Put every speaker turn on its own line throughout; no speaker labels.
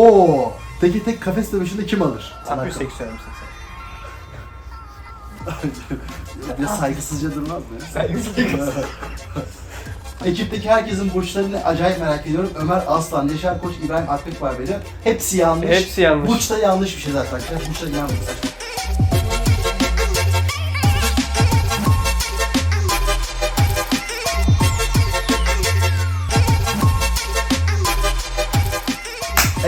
Oo. Peki tek kafes dövüşünde kim alır?
Sen bir
Alakalı.
seksüel misin sen?
Bir de saygısızca durmaz mı? ya?
Saygısızca.
Ekipteki herkesin burçlarını acayip merak ediyorum. Ömer Aslan, Yaşar Koç, İbrahim Akbek var benim. Hepsi yanlış.
Hepsi yanlış.
Burç da yanlış bir şey zaten arkadaşlar. Burç da yanlış.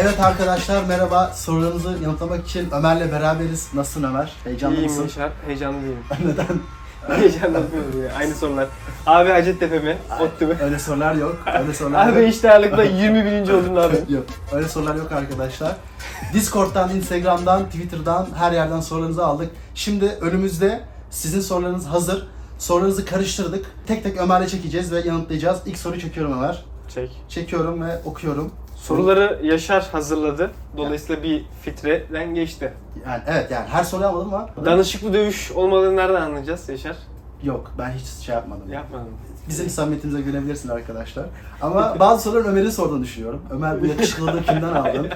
Evet arkadaşlar merhaba. Sorularınızı yanıtlamak için Ömer'le beraberiz. Nasılsın Ömer? Heyecanlı
İyiyim
mısın?
Yaşar. Heyecanlı değilim.
Neden?
Heyecanlanmıyorum ya. Aynı sorular. Abi Hacettepe mi? Ottu mu?
Öyle sorular yok. Öyle sorular yok.
Abi işte ağırlıkta 20 bininci oldum abi.
yok. Öyle sorular yok arkadaşlar. Discord'dan, Instagram'dan, Twitter'dan her yerden sorularınızı aldık. Şimdi önümüzde sizin sorularınız hazır. Sorularınızı karıştırdık. Tek tek Ömer'le çekeceğiz ve yanıtlayacağız. İlk soruyu çekiyorum Ömer.
Çek.
Çekiyorum ve okuyorum.
Soruları Yaşar hazırladı. Dolayısıyla bir fitreden geçti.
Yani evet yani her soruyu almadım ama
Danışıklı dövüş olmadığını nereden anlayacağız Yaşar?
yok ben hiç şey yapmadım.
Yapmadım.
Bizim samimiyetimize gülebilirsin arkadaşlar. Ama bazı soruların Ömer'in sorduğunu düşünüyorum. Ömer bu yakışıklılığı kimden aldın?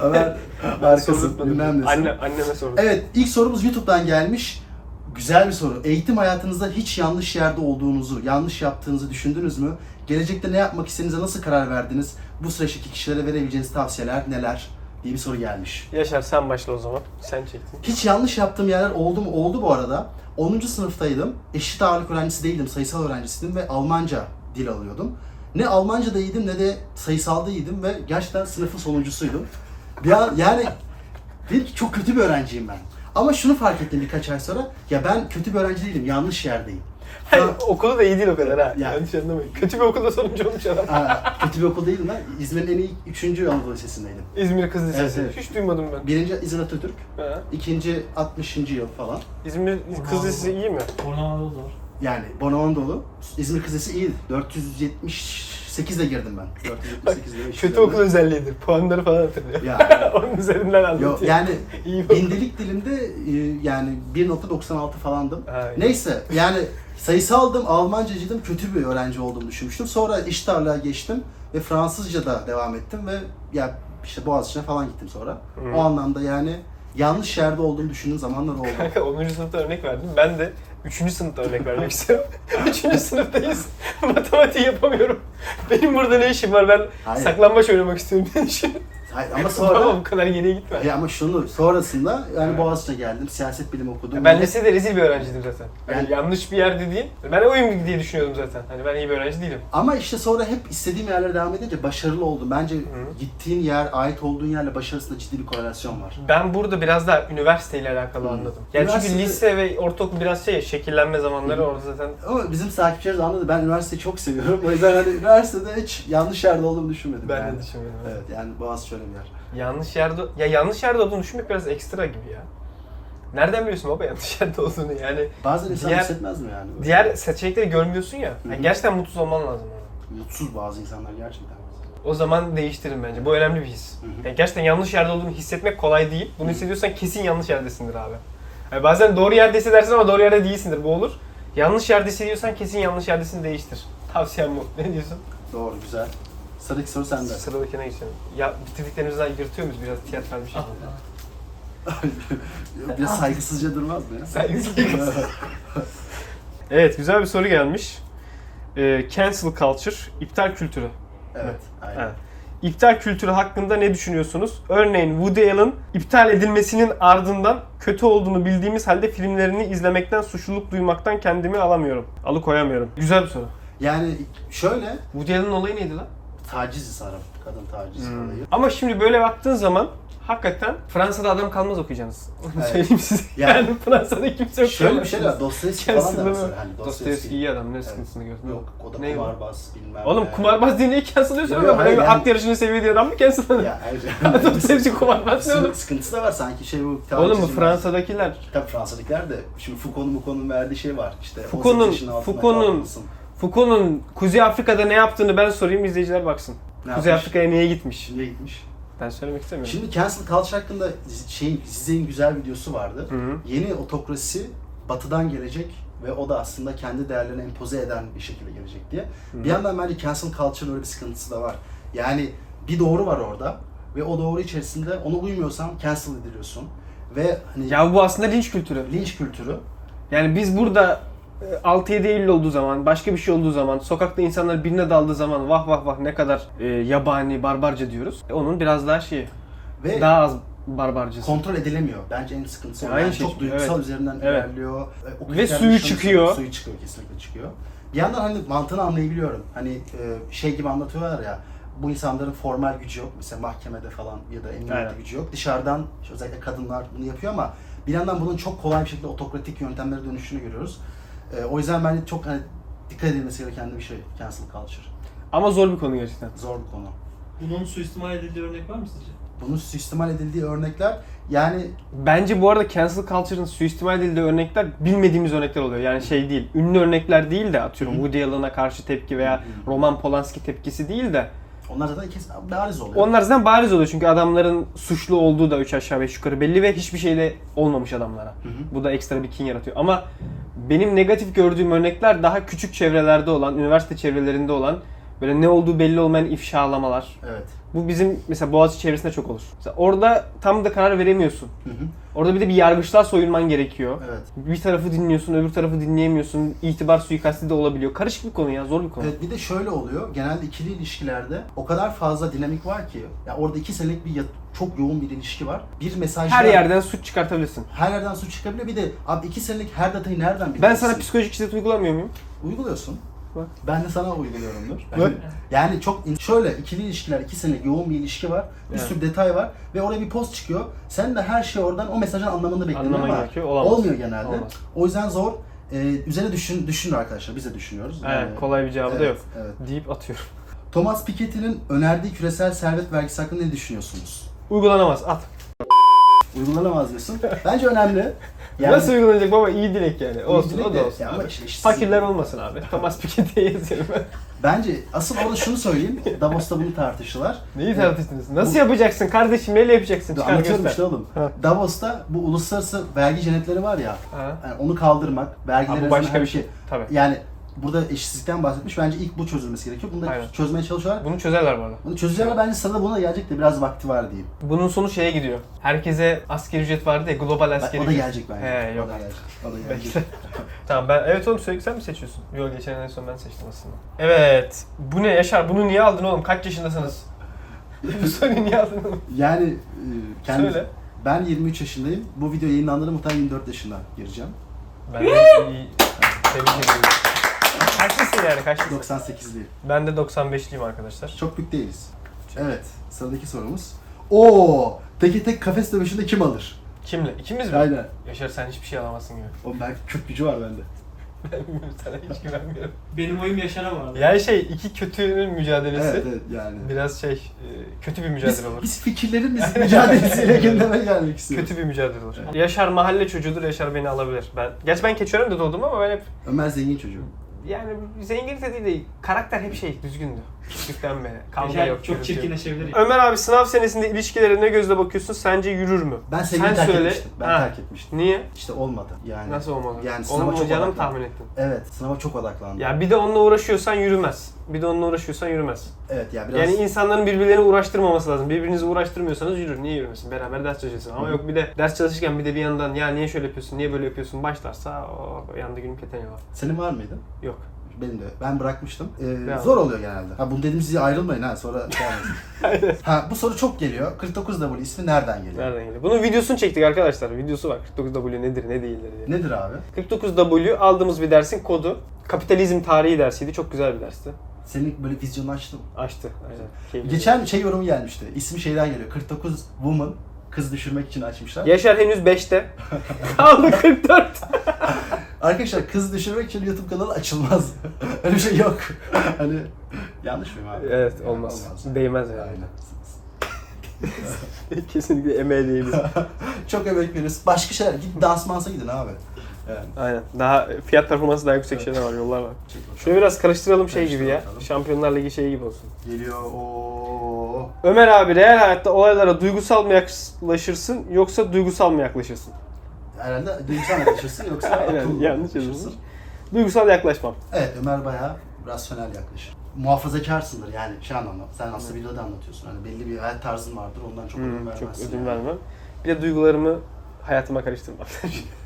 Ömer arkasın
Sorulmadı.
bilmem nesin.
Anne, anneme sordum.
Evet, ilk sorumuz YouTube'dan gelmiş. Güzel bir soru. Eğitim hayatınızda hiç yanlış yerde olduğunuzu, yanlış yaptığınızı düşündünüz mü? Gelecekte ne yapmak istediğinize nasıl karar verdiniz? Bu süreçteki kişilere verebileceğiniz tavsiyeler neler? diye bir soru gelmiş.
Yaşar sen başla o zaman. Sen çektin.
Hiç yanlış yaptığım yerler oldu mu? Oldu bu arada. 10. sınıftaydım. Eşit ağırlık öğrencisi değildim. Sayısal öğrencisiydim ve Almanca dil alıyordum. Ne Almanca'da iyiydim ne de sayısalda iyiydim ve gerçekten sınıfın sonuncusuydum. Bir an- yani bir çok kötü bir öğrenciyim ben. Ama şunu fark ettim birkaç ay sonra. Ya ben kötü bir öğrenci değilim. Yanlış yerdeyim.
Hayır, okulu da iyi değil o kadar ha.
Ya.
Yanlış anlamayın. Kötü bir okulda sonuncu olmuş adam.
Aa, e, kötü bir okul değilim ben. İzmir'in en iyi 3. Anadolu Lisesi'ndeydim.
İzmir Kız Lisesi.
Evet, evet.
Hiç duymadım ben.
Birinci İzmir Atatürk,
Ha.
ikinci 60. yıl falan.
İzmir Kız Lisesi iyi mi?
Tornado'da var.
Yani Bonoan dolu. İzmir Kızesi iyi. 478 de girdim ben. 478 de
Kötü okul özelliğidir. Puanları falan hatırlıyor.
Ya.
Onun üzerinden
Yok
anlatıyor.
yani
İyi bak.
bindelik dilimde e, yani 1.96 falandım.
Ha, iyi.
Neyse yani sayısaldım, Almancacıydım, kötü bir öğrenci olduğumu düşünmüştüm. Sonra iş darlığa geçtim ve Fransızca da devam ettim ve ya işte Boğaziçi'ne falan gittim sonra.
Hı.
O anlamda yani yanlış yerde olduğumu düşündüğüm zamanlar oldu.
Kanka 10. sınıfta örnek verdim. Ben de 3. sınıfta örnek vermek istiyorum. 3. sınıftayız. Matematiği yapamıyorum. Benim burada ne işim var? Ben
Hayır.
saklambaç oynamak istiyorum diye düşünüyorum.
Hayır, ama sonra
Tamam bu kadar geriye gitme.
Ya ama şunu sonrasında yani Boğaziçi'ne geldim, siyaset bilimi okudum.
Ben lisede rezil bir öğrenciydim zaten. Yani
Yani-
yanlış bir yer dediğim, ben oyun diye düşünüyordum zaten. Hani ben iyi bir öğrenci değilim.
Ama işte sonra hep istediğim yerlere devam edince başarılı oldum. Bence gittiğin yer, ait olduğun yerle başarısında ciddi bir korelasyon var.
Ben burada biraz daha üniversiteyle alakalı
Hı.
anladım. Yani çünkü
Hmm. Üniversite-
lise ve ortaokul biraz şey ya, şekillenme zamanları orada zaten
Ama bizim takipçilerimiz anladı. Ben üniversiteyi çok seviyorum. O yüzden hani üniversitede hiç yanlış yerde olduğumu düşünmedim.
ben
yani.
de düşünmedim.
Evet yani Boğaziçi şöyle bir yer.
Yanlış yerde ya yanlış yerde olduğunu düşünmek biraz ekstra gibi ya. Nereden biliyorsun baba yanlış yerde olduğunu yani?
Bazen insan
Diğer-
hissetmez mi yani? Böyle
Diğer seçenekleri görmüyorsun ya.
Hı hı.
Yani gerçekten mutsuz olman lazım. orada.
Mutsuz bazı insanlar gerçekten.
O zaman değiştirin bence. Bu önemli bir his.
Hı hı.
Yani gerçekten yanlış yerde olduğunu hissetmek kolay değil. Bunu hissediyorsan kesin yanlış yerdesindir abi. Yani bazen doğru yerde hissedersin ama doğru yerde değilsindir. Bu olur. Yanlış yerde hissediyorsan kesin yanlış yerdesin değiştir. Tavsiyem bu. Ne diyorsun?
Doğru, güzel. Sıradaki soru sende.
Sıradakine geçelim. Ya bitirdiklerimizden yırtıyor muyuz biraz tiyatral bir şey. şekilde?
Biraz saygısızca durmaz mı ya?
Saygısızlık. Evet, güzel bir soru gelmiş. Ee, cancel culture, iptal kültürü.
evet, aynen.
Evet. İptal kültürü hakkında ne düşünüyorsunuz? Örneğin Woody Allen iptal edilmesinin ardından kötü olduğunu bildiğimiz halde filmlerini izlemekten suçluluk duymaktan kendimi alamıyorum. Alıkoyamıyorum. Güzel bir soru.
Yani şöyle,
Woody Allen'ın olayı neydi lan?
taciz sanırım. Kadın taciz olayı.
Hmm. Ama şimdi böyle baktığın zaman hakikaten Fransa'da adam kalmaz okuyacaksınız. Onu
Evet.
söyleyeyim size.
Yani-
Yani, Fransa'da kimse yok.
Şöyle bir şey var. Dostoyevski falan da
Cancel'ı
mesela.
mı?
Hani
Dostoyevski iyi adam. Ne sıkıntısını gördün?
Yok o da
Ne?
kumarbaz bilmem
Oğlum
ne.
kumarbaz diye niye cancel'lıyorsun?
Yok,
oğlum?
yok, hayır,
Böyle
yani-
At yarışını seviyor diye adam mı cancel'lanıyor?
Ya evet.
Adam sevci kumarbaz ne
Sıkı-
oğlum?
Sıkıntısı da var sanki şey bu.
Oğlum bu
tacizin-
Fransa'dakiler.
Tabii Fransa'dakiler de şimdi Foucault'un Foucault'un verdiği şey var. İşte 18
Foucault'un-
yaşın altına
Foucault'un-
kalkmasın.
Foucault'un Kuzey Afrika'da ne yaptığını ben sorayım izleyiciler baksın.
Ne
Kuzey
yapmış?
Afrika'ya niye gitmiş?
Şimdi gitmiş.
Ben söylemek istemiyorum.
Şimdi Cancel Culture hakkında şeyin, Zizek'in güzel videosu vardı.
Hı hı.
Yeni otokrasi batıdan gelecek ve o da aslında kendi değerlerini empoze eden bir şekilde gelecek diye. Bir yandan bence cancel culture'ın öyle bir sıkıntısı da var. Yani bir doğru var orada ve o doğru içerisinde ona uymuyorsan cancel ediliyorsun. Ve hani
Ya bu aslında linç kültürü.
linç kültürü
Yani biz burada e, 6-7 Eylül olduğu zaman, başka bir şey olduğu zaman, sokakta insanlar birine daldığı zaman vah vah vah ne kadar e, yabani, barbarca diyoruz. E, onun biraz daha şeyi,
ve
daha az barbarcası.
kontrol edilemiyor. Bence en sıkıntısı o.
Aynı
Yani
şey.
çok duygusal
Evet.
üzerinden
Evet.
ilerliyor. E, o
Ve
kriterlerin
suyu
dışına
çıkıyor.
Suyu çıkıyor, kesinlikle çıkıyor. Bir yandan hani mantığını anlayabiliyorum. Hani e, şey gibi anlatıyorlar ya, bu insanların formal gücü yok. Mesela mahkemede falan ya da emniyette
Aynen.
gücü yok. Dışarıdan işte özellikle kadınlar bunu yapıyor ama bir yandan bunun çok kolay bir şekilde otokratik yöntemlere dönüşünü görüyoruz. E, o yüzden bence çok hani dikkat edilmesi gereken bir şey cancel culture.
Ama zor bir konu gerçekten.
Zor bir konu.
Bunun suistimal edildiği örnek var mı sizce?
Bunun suistimal edildiği örnekler yani
Bence bu arada cancel culture'ın suistimal edildiği örnekler bilmediğimiz örnekler oluyor. Yani şey değil, ünlü örnekler değil de atıyorum
Hı hı.
Woody Allen'a karşı tepki veya
Hı
Roman Polanski tepkisi değil de
onlar zaten kesin bariz oluyor.
Onlar zaten bariz oluyor çünkü adamların suçlu olduğu da üç aşağı beş yukarı belli ve hiçbir şeyle olmamış adamlara.
Hı hı.
Bu da ekstra bir kin yaratıyor. Ama benim negatif gördüğüm örnekler daha küçük çevrelerde olan, üniversite çevrelerinde olan böyle ne olduğu belli olmayan ifşalamalar.
Evet.
Bu bizim mesela Boğaziçi çevresinde çok olur. Mesela orada tam da karar veremiyorsun.
Hı hı.
Orada bir de bir yargıçlar soyunman gerekiyor.
Evet.
Bir tarafı dinliyorsun, öbür tarafı dinleyemiyorsun. İtibar suikasti de olabiliyor. Karışık bir konu ya, zor bir konu.
Evet bir de şöyle oluyor. Genelde ikili ilişkilerde o kadar fazla dinamik var ki. Ya orada iki senelik bir ya- çok yoğun bir ilişki var. Bir mesaj
Her yerden suç çıkartabilirsin.
her yerden su çıkabiliyor. Bir de abi iki senelik her detayı nereden biliyorsun?
Ben sana psikolojik şiddet uygulamıyor muyum?
uyguluyorsun.
Bak.
Ben de sana uyguluyorumdur.
Bak.
yani çok in- şöyle ikili ilişkiler iki senelik yoğun bir ilişki var. Bir
Evet.
sürü detay var ve oraya bir post çıkıyor. Sen de her şey oradan o mesajın anlamını bekliyorsun
Anlaman
ama
gerekiyor, olamaz.
olmuyor genelde.
Olmaz.
O yüzden zor. Ee, üzerine düşün düşünün arkadaşlar. Biz de düşünüyoruz.
Evet,
Yani-
kolay bir cevabı da
Evet,
yok.
Evet.
Deyip atıyorum.
Thomas Piketty'nin önerdiği küresel servet vergisi hakkında ne düşünüyorsunuz?
Uygulanamaz, at.
Uygulanamaz diyorsun. Bence önemli. Yani
Nasıl uygulanacak baba? İyi dilek yani. Olsun,
dilek
o
de-
da olsun
ya ama
abi.
işte işte-
Fakirler olmasın abi. Thomas Piketty'ye yazıyorum.
bence asıl orada şunu söyleyeyim. Davos'ta bunu tartıştılar.
Neyi tartıştınız?
Bu-
Nasıl yapacaksın kardeşim? Neyle yapacaksın? Çıkar
Anlatıyorum
göster.
işte oğlum.
Ha.
Davos'ta bu uluslararası vergi cennetleri var ya.
Ha.
Yani onu kaldırmak, vergiler
Ha, bu
arasında
başka
her
bir şey. Tabii.
Yani burada eşitsizlikten bahsetmiş. Bence ilk bu çözülmesi gerekiyor. Bunu da
Aynen.
çözmeye çalışıyorlar.
Bunu çözerler bu arada.
Bunu çözeceğim bence sana buna gelecek de biraz vakti var diyeyim.
Bunun sonu şeye gidiyor. Herkese asgari ücret vardı ya, global
Bak,
asgari
o da
ücret.
gelecek bence.
He,
O
yok.
da gelecek. O da gelecek.
Bekle. tamam ben, evet oğlum sürekli sen mi seçiyorsun? Yok geçen en son ben seçtim aslında. Evet. Bu ne Yaşar? Bunu niye aldın oğlum? Kaç yaşındasınız? Bu soruyu niye aldın oğlum?
Yani e, kendi,
Söyle.
ben 23 yaşındayım. Bu video yayınlandığında muhtemelen 24 yaşına gireceğim.
Ben de iyi. Tebrik ediyorum. Kaçlısın yani kaçlısın?
98'liyim.
Ben de 95'liyim arkadaşlar.
Çok büyük değiliz. Evet, sıradaki sorumuz. Oo, teke tek kafes dövüşünde kim alır?
Kimle? İkimiz mi?
Aynen.
Yaşar sen hiçbir şey alamazsın gibi.
O belki kök gücü var bende.
Ben bilmiyorum sana hiç güvenmiyorum.
Benim oyum Yaşar'a vardı.
Yani şey iki kötünün mücadelesi
Evet, evet yani.
biraz şey e, kötü bir
Biz,
mücadele olur.
biz fikirlerimiz mücadelesiyle gündeme gelmek istiyoruz.
Kötü bir mücadele olur. Yaşar mahalle çocuğudur, Yaşar beni alabilir. Ben Gerçi ben Keçiören'de doğdum ama ben hep
Ömer zengin çocuğu.
yani zengin de değil de karakter hep şey düzgündü. Küçüklükten beri. Kavga
Yaşar
yok.
çok
gürültü yok.
çirkinleşebilir.
Ömer abi sınav senesinde ilişkilere ne gözle bakıyorsun? Sence yürür mü?
Ben sevgimi
Sen
terk
söyle.
etmiştim. Ben
Ha.
terk etmiştim.
Niye?
İşte olmadı yani.
Nasıl olmalı?
Yani
Yani
sınava çok
Olmayacağını mı
odaklandım.
tahmin ettin?
Evet, sınava çok odaklandım.
Ya bir de onunla uğraşıyorsan yürümez. Bir de onunla uğraşıyorsan yürümez.
Evet ya biraz...
Yani insanların birbirlerini uğraştırmaması lazım. Birbirinizi uğraştırmıyorsanız yürür. Niye yürümesin? Beraber ders çalışırsın. Ama
Hı.
yok bir de ders çalışırken bir de bir yandan ya niye şöyle yapıyorsun, niye böyle yapıyorsun başlarsa o yanında günüm keteniyor.
Senin var mıydı?
Yok.
Benim de. Ben bırakmıştım. Ee,
Devam.
zor oluyor genelde. Ha bunu dedim size ayrılmayın ha sonra devam edin. Ha bu soru çok geliyor. 49W ismi nereden geliyor?
Nereden geliyor? Bunun videosunu çektik arkadaşlar. Videosu var. 49W nedir, ne değildir diye.
Nedir abi?
49W aldığımız bir dersin kodu. Kapitalizm tarihi dersiydi. Çok güzel bir dersti.
Senin böyle vizyonu açtım.
Açtı. Aynen. Keyifli.
Geçen şey yorumu gelmişti. İsmi şeyden geliyor. 49 woman kız düşürmek için açmışlar.
Yaşar henüz 5'te. Kaldı 44.
Arkadaşlar kız düşürmek için YouTube kanalı açılmaz. Öyle bir şey yok. hani yanlış mıyım abi?
Evet olmaz. Değmez yani.
Aynen.
Kesinlikle emeğe değmez.
Çok emek veriyoruz. Başka şeyler. Git dansmansa gidin abi. Yani.
Aynen. Daha fiyat performansı daha yüksek şeyler var, yollar var.
çok- çok-
Şunu biraz karıştıralım şey gibi ya.
Karıştıralım.
Şampiyonlar Ligi şeyi gibi olsun.
Geliyor. Oo.
Ömer abi real hayatta olaylara duygusal mı yaklaşırsın yoksa duygusal mı yaklaşırsın?
Herhalde duygusal yaklaşırsın yoksa
Aynen,
akıllı
yanlış
yaklaşırsın.
yazıyorsun. Duygusal yaklaşmam.
Evet Ömer bayağı rasyonel yaklaşır. muhafazakarsındır yani şey anlamda. Sen aslında videoda anlatıyorsun. Hani belli bir hayat tarzın vardır ondan çok ödün
Hmm,
vermezsin.
çok ödün
yani.
vermem. Bir de duygularımı hayatıma karıştırmam.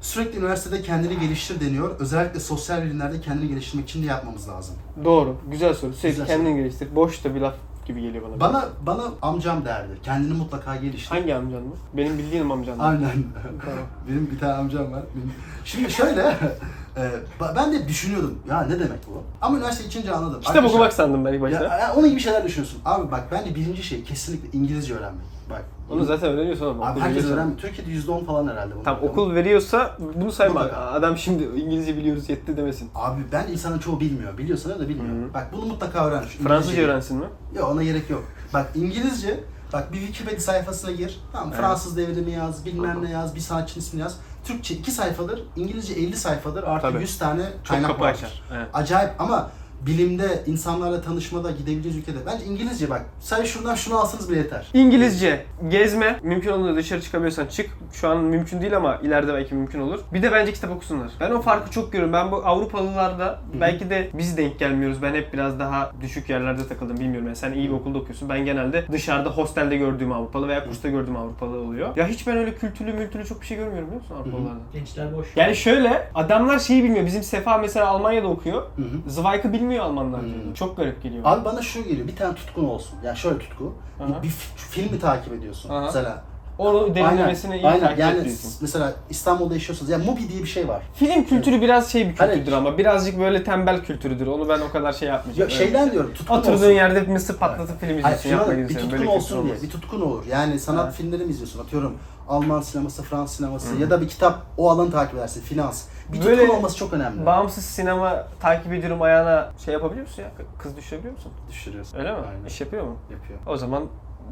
Sürekli üniversitede kendini geliştir deniyor. Özellikle sosyal bilimlerde kendini geliştirmek için de yapmamız lazım.
Doğru. Güzel soru. Sürekli
Güzel
kendini geliştir. Boş da bir laf gibi geliyor bana.
Bana bana amcam derdi. Kendini mutlaka geliştir.
Hangi amcan mı? Benim bildiğim amcan mı?
Aynen.
Tamam.
Benim bir tane amcam var. Benim- Şimdi şöyle, e, ba- ben de düşünüyordum. Ya ne demek bu? Ama üniversite içince anladım.
Kitap
Arkadaşlar-
okumak sandım ben ilk başta.
Ya, ya, onun gibi şeyler düşünüyorsun. Abi bak bence birinci şey kesinlikle İngilizce öğrenmek. Bak.
Onu zaten öğreniyorsun ama.
Abi
okul
herkes
veriyorsa.
öğrenmiyor. Türkiye'de %10 falan herhalde. bunun.
Tam okul veriyorsa bunu sayma.
Mutlaka.
Adam şimdi İngilizce biliyoruz yetti demesin.
Abi ben insanın çoğu bilmiyor. Biliyorsan da bilmiyor.
Hı.
Bak bunu mutlaka öğren. Şu
Fransızca
İngilizceyi-
öğrensin mi?
Yok ona gerek yok. Bak İngilizce, bak bir Wikipedia sayfasına gir. Tamam
Evet.
Fransız devrimi yaz, bilmem ne yaz, bir sanatçının ismini yaz. Türkçe 2 sayfadır, İngilizce 50 sayfadır. Artı
Tabii.
100 tane
Çok
kaynak
kapı
vardır.
açar. Evet.
Acayip ama bilimde, insanlarla tanışmada, gidebileceğiniz ülkede. Bence İngilizce bak. Sen şuradan şunu alsanız bile yeter.
İngilizce, gezme, mümkün olduğunda dışarı çıkabiliyorsan çık. Şu an mümkün değil ama ileride belki mümkün olur. Bir de bence kitap okusunlar. Ben o farkı çok görüyorum. Ben bu Avrupalılarda
hı.
belki de biz denk gelmiyoruz. Ben hep biraz daha düşük yerlerde takıldım bilmiyorum. Yani sen iyi bir okulda okuyorsun. Ben genelde dışarıda hostelde gördüğüm Avrupalı veya kursta gördüğüm Avrupalı oluyor. Ya hiç ben öyle kültürlü mültülü çok bir şey görmüyorum biliyor musun Avrupalılarda?
Gençler boş.
Yani şöyle adamlar şeyi bilmiyor. Bizim Sefa mesela Almanya'da okuyor.
Hı hı.
Zweig'ı bilmiyor Almanlar.
Hı.
diyor. Çok garip geliyor.
Abi bana şu geliyor. Bir tane tutkun olsun. Ya şöyle tutku.
Aha.
Bir, bir fi- filmi takip ediyorsun
Aha.
mesela.
Onu derinlemesine iyi
Aynen.
takip
Yani
et diyorsun.
s- mesela İstanbul'da yaşıyorsanız. Ya Mubi diye bir şey var.
Film kültürü biraz şey bir
Hani-
kültürdür ama birazcık böyle tembel kültürüdür. Onu ben o kadar şey yapmayacağım.
Ya
Evet.
şeyden diyorum. Tutkun olsun.
Oturduğun yerde mısır patlatıp film
Hayır,
izliyorsun.
şuna
Yapma
da bir
gibi şey.
tutkun
Böyle kültür
olsun diye,
olmaz.
bir tutkun olur. Yani sanat
Ha.
filmleri mi izliyorsun? Atıyorum Alman sineması, Fransız sineması ya da bir kitap o alanı takip edersin, finans. Bir
Böyle
tutkun olması çok önemli.
Bağımsız sinema takip ediyorum ayağına şey yapabiliyor musun ya? Kız düşürebiliyor musun?
Düşürüyorsun.
Öyle mi?
Aynen.
İş yapıyor mu?
Yapıyor.
O zaman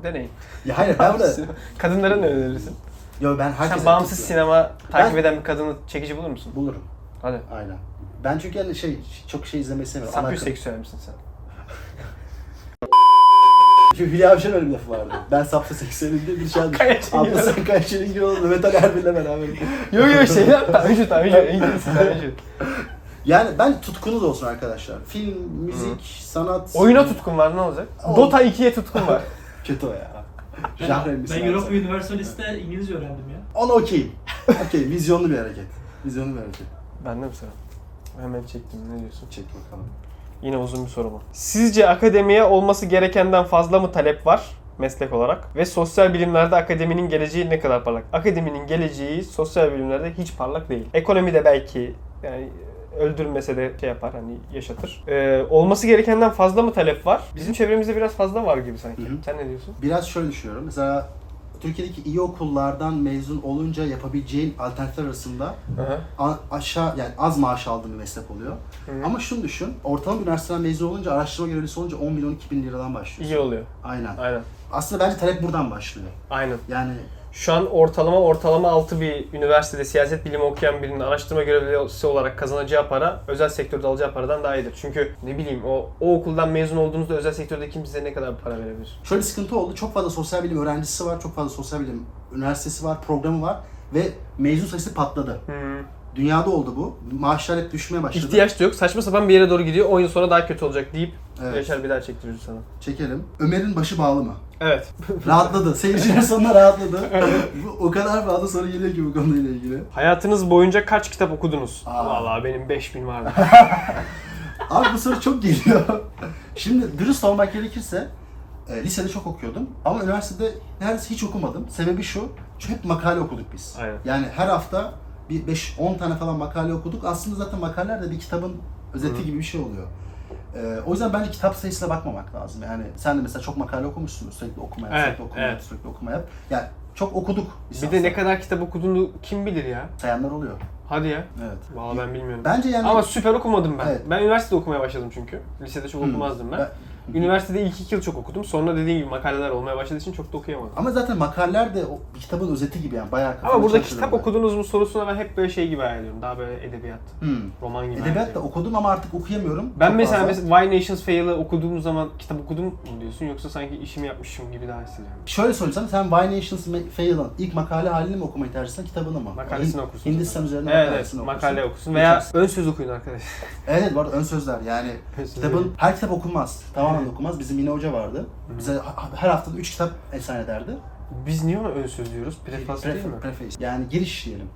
deneyin.
Ya hayır ben burada,
Kadınlara ne önerirsin?
yo ben herkese
Sen bağımsız
tutuyorum.
sinema takip
Ben-
eden bir kadını çekici bulur musun?
Bulurum.
Hadi.
Aynen. Ben çünkü yani şey çok şey izlemeyi sevmiyorum. Ana akım.
Sapyoseksüel misin sen?
Çünkü Hülya Avşar'ın öyle bir lafı vardı. Ben sapta seksenim diye bir şey aldım.
Kaya Çengel.
Abla sen Kaya Çelingir Mehmet Ali Erbil'le beraber.
Yok yok şey yap. Tanju Tanju. İngilizce Tanju.
Yani ben tutkunuz olsun arkadaşlar. Film, müzik, sanat.
Oyuna tutkun var ne olacak?
Oğlum.
Dota 2'ye tutkun var.
Kötü o ya.
Ben,
Jahren bir
ben
sanat.
Europa Universalist'te İngilizce öğrendim ya.
Ona okeyim. Okey, vizyonlu bir hareket. Vizyonlu bir hareket.
Bende mi sıra? Hemen çektim ne diyorsun?
Çek bakalım.
Yine uzun bir soru bu. Sizce akademiye olması gerekenden fazla mı talep var meslek olarak? Ve sosyal bilimlerde akademinin geleceği ne kadar parlak? Akademinin geleceği sosyal bilimlerde hiç parlak değil. Ekonomide belki yani öldürmese de şey yapar hani yaşatır. Ee, olması gerekenden fazla mı talep var? Bizim çevremizde biraz fazla var gibi sanki.
Hı hı.
Sen ne diyorsun?
Biraz şöyle düşünüyorum. Mesela Türkiye'deki iyi okullardan mezun olunca yapabileceğin alternatifler arasında a- aşağı yani az maaş aldığın bir meslek oluyor.
Hı.
Ama şunu düşün. Ortalama bir üniversiteden mezun olunca araştırma görevlisi olunca 10 bin 12 bin liradan başlıyor.
İyi oluyor.
Aynen.
Aynen.
Aslında bence talep buradan başlıyor.
Aynen.
Yani
Şu an ortalama ortalama altı bir üniversitede siyaset bilimi okuyan birinin araştırma görevlisi olarak kazanacağı para özel sektörde alacağı paradan daha iyidir. Çünkü ne bileyim o, o okuldan mezun olduğunuzda özel sektörde kim size ne kadar para verebilir?
şöyle bir sıkıntı oldu. Çok fazla sosyal bilim öğrencisi var, çok fazla sosyal bilim üniversitesi var, programı var ve mezun sayısı patladı. Dünyada oldu bu. Maaşlar hep düşmeye başladı.
İhtiyaç da yok. Saçma sapan bir yere doğru gidiyor. 10 yıl sonra daha kötü olacak deyip
Evet.
Yaşar bir daha çektiriyor sana.
Çekelim. Ömer'in başı bağlı mı?
Evet.
Rahatladı. Seyirciler sonunda rahatladı. Bu o kadar fazla soru geliyor ki bu konuyla ilgili.
Hayatınız boyunca kaç kitap okudunuz?
Aa.
Vallahi benim 5000 vardı.
Abi bu soru çok geliyor. Şimdi dürüst olmak gerekirse e, lisede çok okuyordum ama üniversitede neredeyse hiç okumadım. Sebebi şu, çünkü hep makale okuduk biz.
Aynen.
Yani her hafta bir 5-10 tane falan makale okuduk. Aslında zaten makaleler de bir kitabın özeti gibi bir şey oluyor. E, o yüzden bence kitap sayısına bakmamak lazım. Yani sen de mesela çok makale okumuşsun. Sürekli okuma yap,
Evet,
sürekli okuma yap,
evet.
sürekli okuma yap. Yani çok okuduk. biz
bir de
aslında.
ne kadar kitap okuduğunu kim bilir ya?
Sayanlar oluyor.
Hadi ya.
Evet.
Vallahi ben bilmiyorum.
Bence yani...
Ama süper okumadım ben.
Evet.
Ben üniversitede okumaya başladım çünkü. Lisede çok
Hmm.
okumazdım ben.
Ben-
Üniversitede ilk iki yıl çok okudum. Sonra dediğim gibi makaleler olmaya başladığı için çok da okuyamadım.
Ama zaten makaleler de o kitabın özeti gibi yani bayağı
Ama
kafamı
burada
çalıştırıyor
kitap
ben.
okudunuz mu sorusuna ben hep böyle şey gibi hayal ediyorum. Daha böyle edebiyat,
Hmm.
roman gibi hayal
Edebiyat da
ediyorum.
okudum ama artık okuyamıyorum.
Ben
Çok
mesela,
fazla.
mesela Why Nations Fail'ı okuduğum zaman kitap okudum mu diyorsun yoksa sanki işimi yapmışım gibi daha hissediyorum.
Şöyle sorayım sana, sen Why Nations Ma- Fail'ın ilk makale halini mi okumayı tercih edersin, kitabını mı?
Makalesini
Hin-
okursun.
Hindistan üzerine
Evet, evet
makalesini okursun.
makale okusun veya ön söz okuyun arkadaşlar.
Evet, evet bu arada ön sözler yani
Ön söz
kitabın,
okuyun.
her kitap okunmaz. Tamamen
Evet.
okunmaz. Bizim yine hoca vardı. Bize ha- her hafta 3 kitap esen ederdi.
Biz niye ona ön söz diyoruz? Preface değil mi?
Preface, preface. Yani giriş diyelim.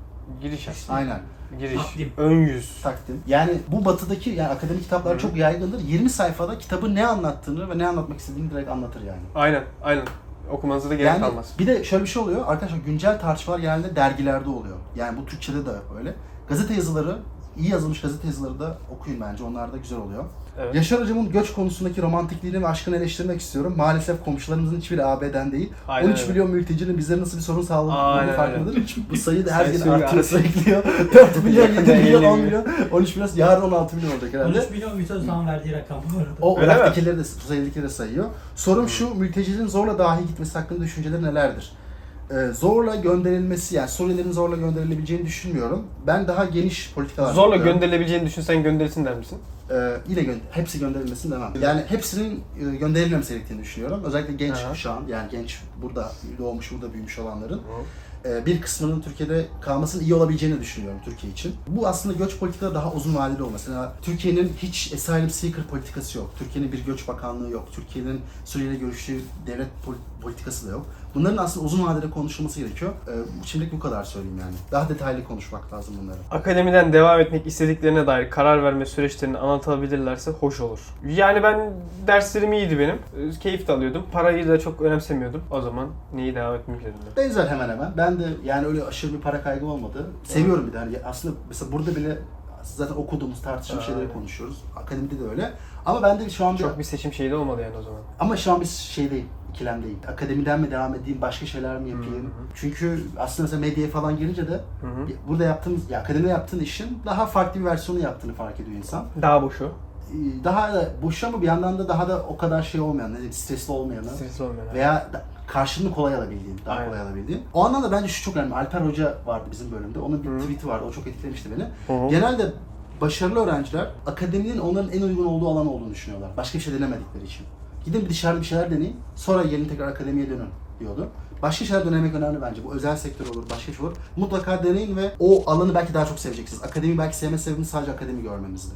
Giriş aslında.
Aynen.
Giriş.
Takdim.
Ön yüz.
Takdim. Yani bu batıdaki yani akademik kitaplar
Hı.
çok yaygındır. 20 sayfada kitabın ne anlattığını ve ne anlatmak istediğini direkt anlatır yani.
Aynen, aynen. Okumanıza da gerek
yani
kalmaz.
bir de şöyle bir şey oluyor. Arkadaşlar güncel tartışmalar genelde dergilerde oluyor. Yani bu Türkçede de öyle. Gazete yazıları, iyi yazılmış gazete yazıları da okuyun bence. Onlar da güzel oluyor.
Evet.
Yaşar Hocam'ın göç konusundaki romantikliğini ve aşkını eleştirmek istiyorum. Maalesef komşularımızın hiçbiri AB'den değil.
Aynen
13
öyle.
milyon mültecinin bize nasıl bir sorun
Aynen
sağladığını
öyle.
farkındadır. Bu sayı da her gün
Sayısı
artıyor
artıyor.
sürekli. 4 milyon, 7
Yakında
milyon, 10
50
milyon, 13 milyon, yarın 16 milyon olacak herhalde.
13 milyon Vito Özal'ın verdiği rakam bu arada.
O
Öyle mi?
Irak'takileri de, Kuzey'dekileri de sayıyor. Sorum şu, mültecilerin zorla dahi gitmesi hakkında düşünceleri nelerdir? Ee, zorla gönderilmesi, yani Suriyelilerin zorla gönderilebileceğini düşünmüyorum. Ben daha geniş politikalar
Zorla
yapıyorum.
gönderilebileceğini düşünsen gönderilsin der misin?
Ee, yine gö- hepsi gönderilmesin demem. Yani hepsinin e, gönderilmemesi gerektiğini düşünüyorum. Özellikle genç
Aha.
kuşağın, yani genç burada doğmuş, burada büyümüş olanların e, bir kısmının Türkiye'de kalmasının iyi olabileceğini düşünüyorum Türkiye için. Bu aslında göç politikada daha uzun vadeli olması. Yani Türkiye'nin hiç asylum seeker politikası yok. Türkiye'nin bir göç bakanlığı yok. Türkiye'nin Suriye'yle görüştüğü devlet pol- politikası da yok. Bunların aslında uzun vadede konuşulması gerekiyor. E, şimdilik bu kadar söyleyeyim yani. Daha detaylı konuşmak lazım bunları.
Akademiden devam etmek istediklerine dair karar verme süreçlerini anlatabilirlerse hoş olur. Yani ben derslerim iyiydi benim. Ee, Keyif de alıyordum. Parayı da çok önemsemiyordum. O zaman neyi devam etmek yerine?
Benzer hemen hemen. Ben de yani öyle aşırı bir para kaygım olmadı. Seviyorum bir de. Hani aslında mesela burada bile zaten okuduğumuz, tartıştığımız
Aynen.
şeyleri konuşuyoruz. Akademide de öyle. Ama ben de şu an bir-
Çok bir seçim şeyi de olmadı yani o zaman.
Ama şu an şey biz şeydeyim, ikilemdeyim. Akademiden mi devam edeyim, başka şeyler mi yapayım?
Hı hı.
Çünkü aslında mesela medyaya falan girince de
Hı hı.
bir- burada yaptığımız, ya akademide yaptığın işin daha farklı bir versiyonu yaptığını fark ediyor insan.
Daha boşu.
Ee, Daha da boş ama bir yandan da daha da o kadar şey olmayan, ne diyeyim, stresli olmayanı
Stresli olmayan.
veya da- karşılığını kolay alabildiğin, daha
Aynen.
kolay alabildiğin. O anlamda bence şu çok önemli. Alper Hoca vardı bizim bölümde. Onun bir
Hı.
tweet'i vardı. O çok etkilemişti beni.
Hı hı.
Genelde başarılı öğrenciler akademinin onların en uygun olduğu alan olduğunu düşünüyorlar. Başka bir şey denemedikleri için. Gidin bir dışarıda bir şeyler deneyin. Sonra gelin tekrar akademiye dönün diyordu. Başka şeyler denemek önemli bence. Bu özel sektör olur, başka şey olur. Mutlaka deneyin ve o alanı belki daha çok seveceksiniz. Akademi belki sevme sebebimiz sadece akademi görmemizdi.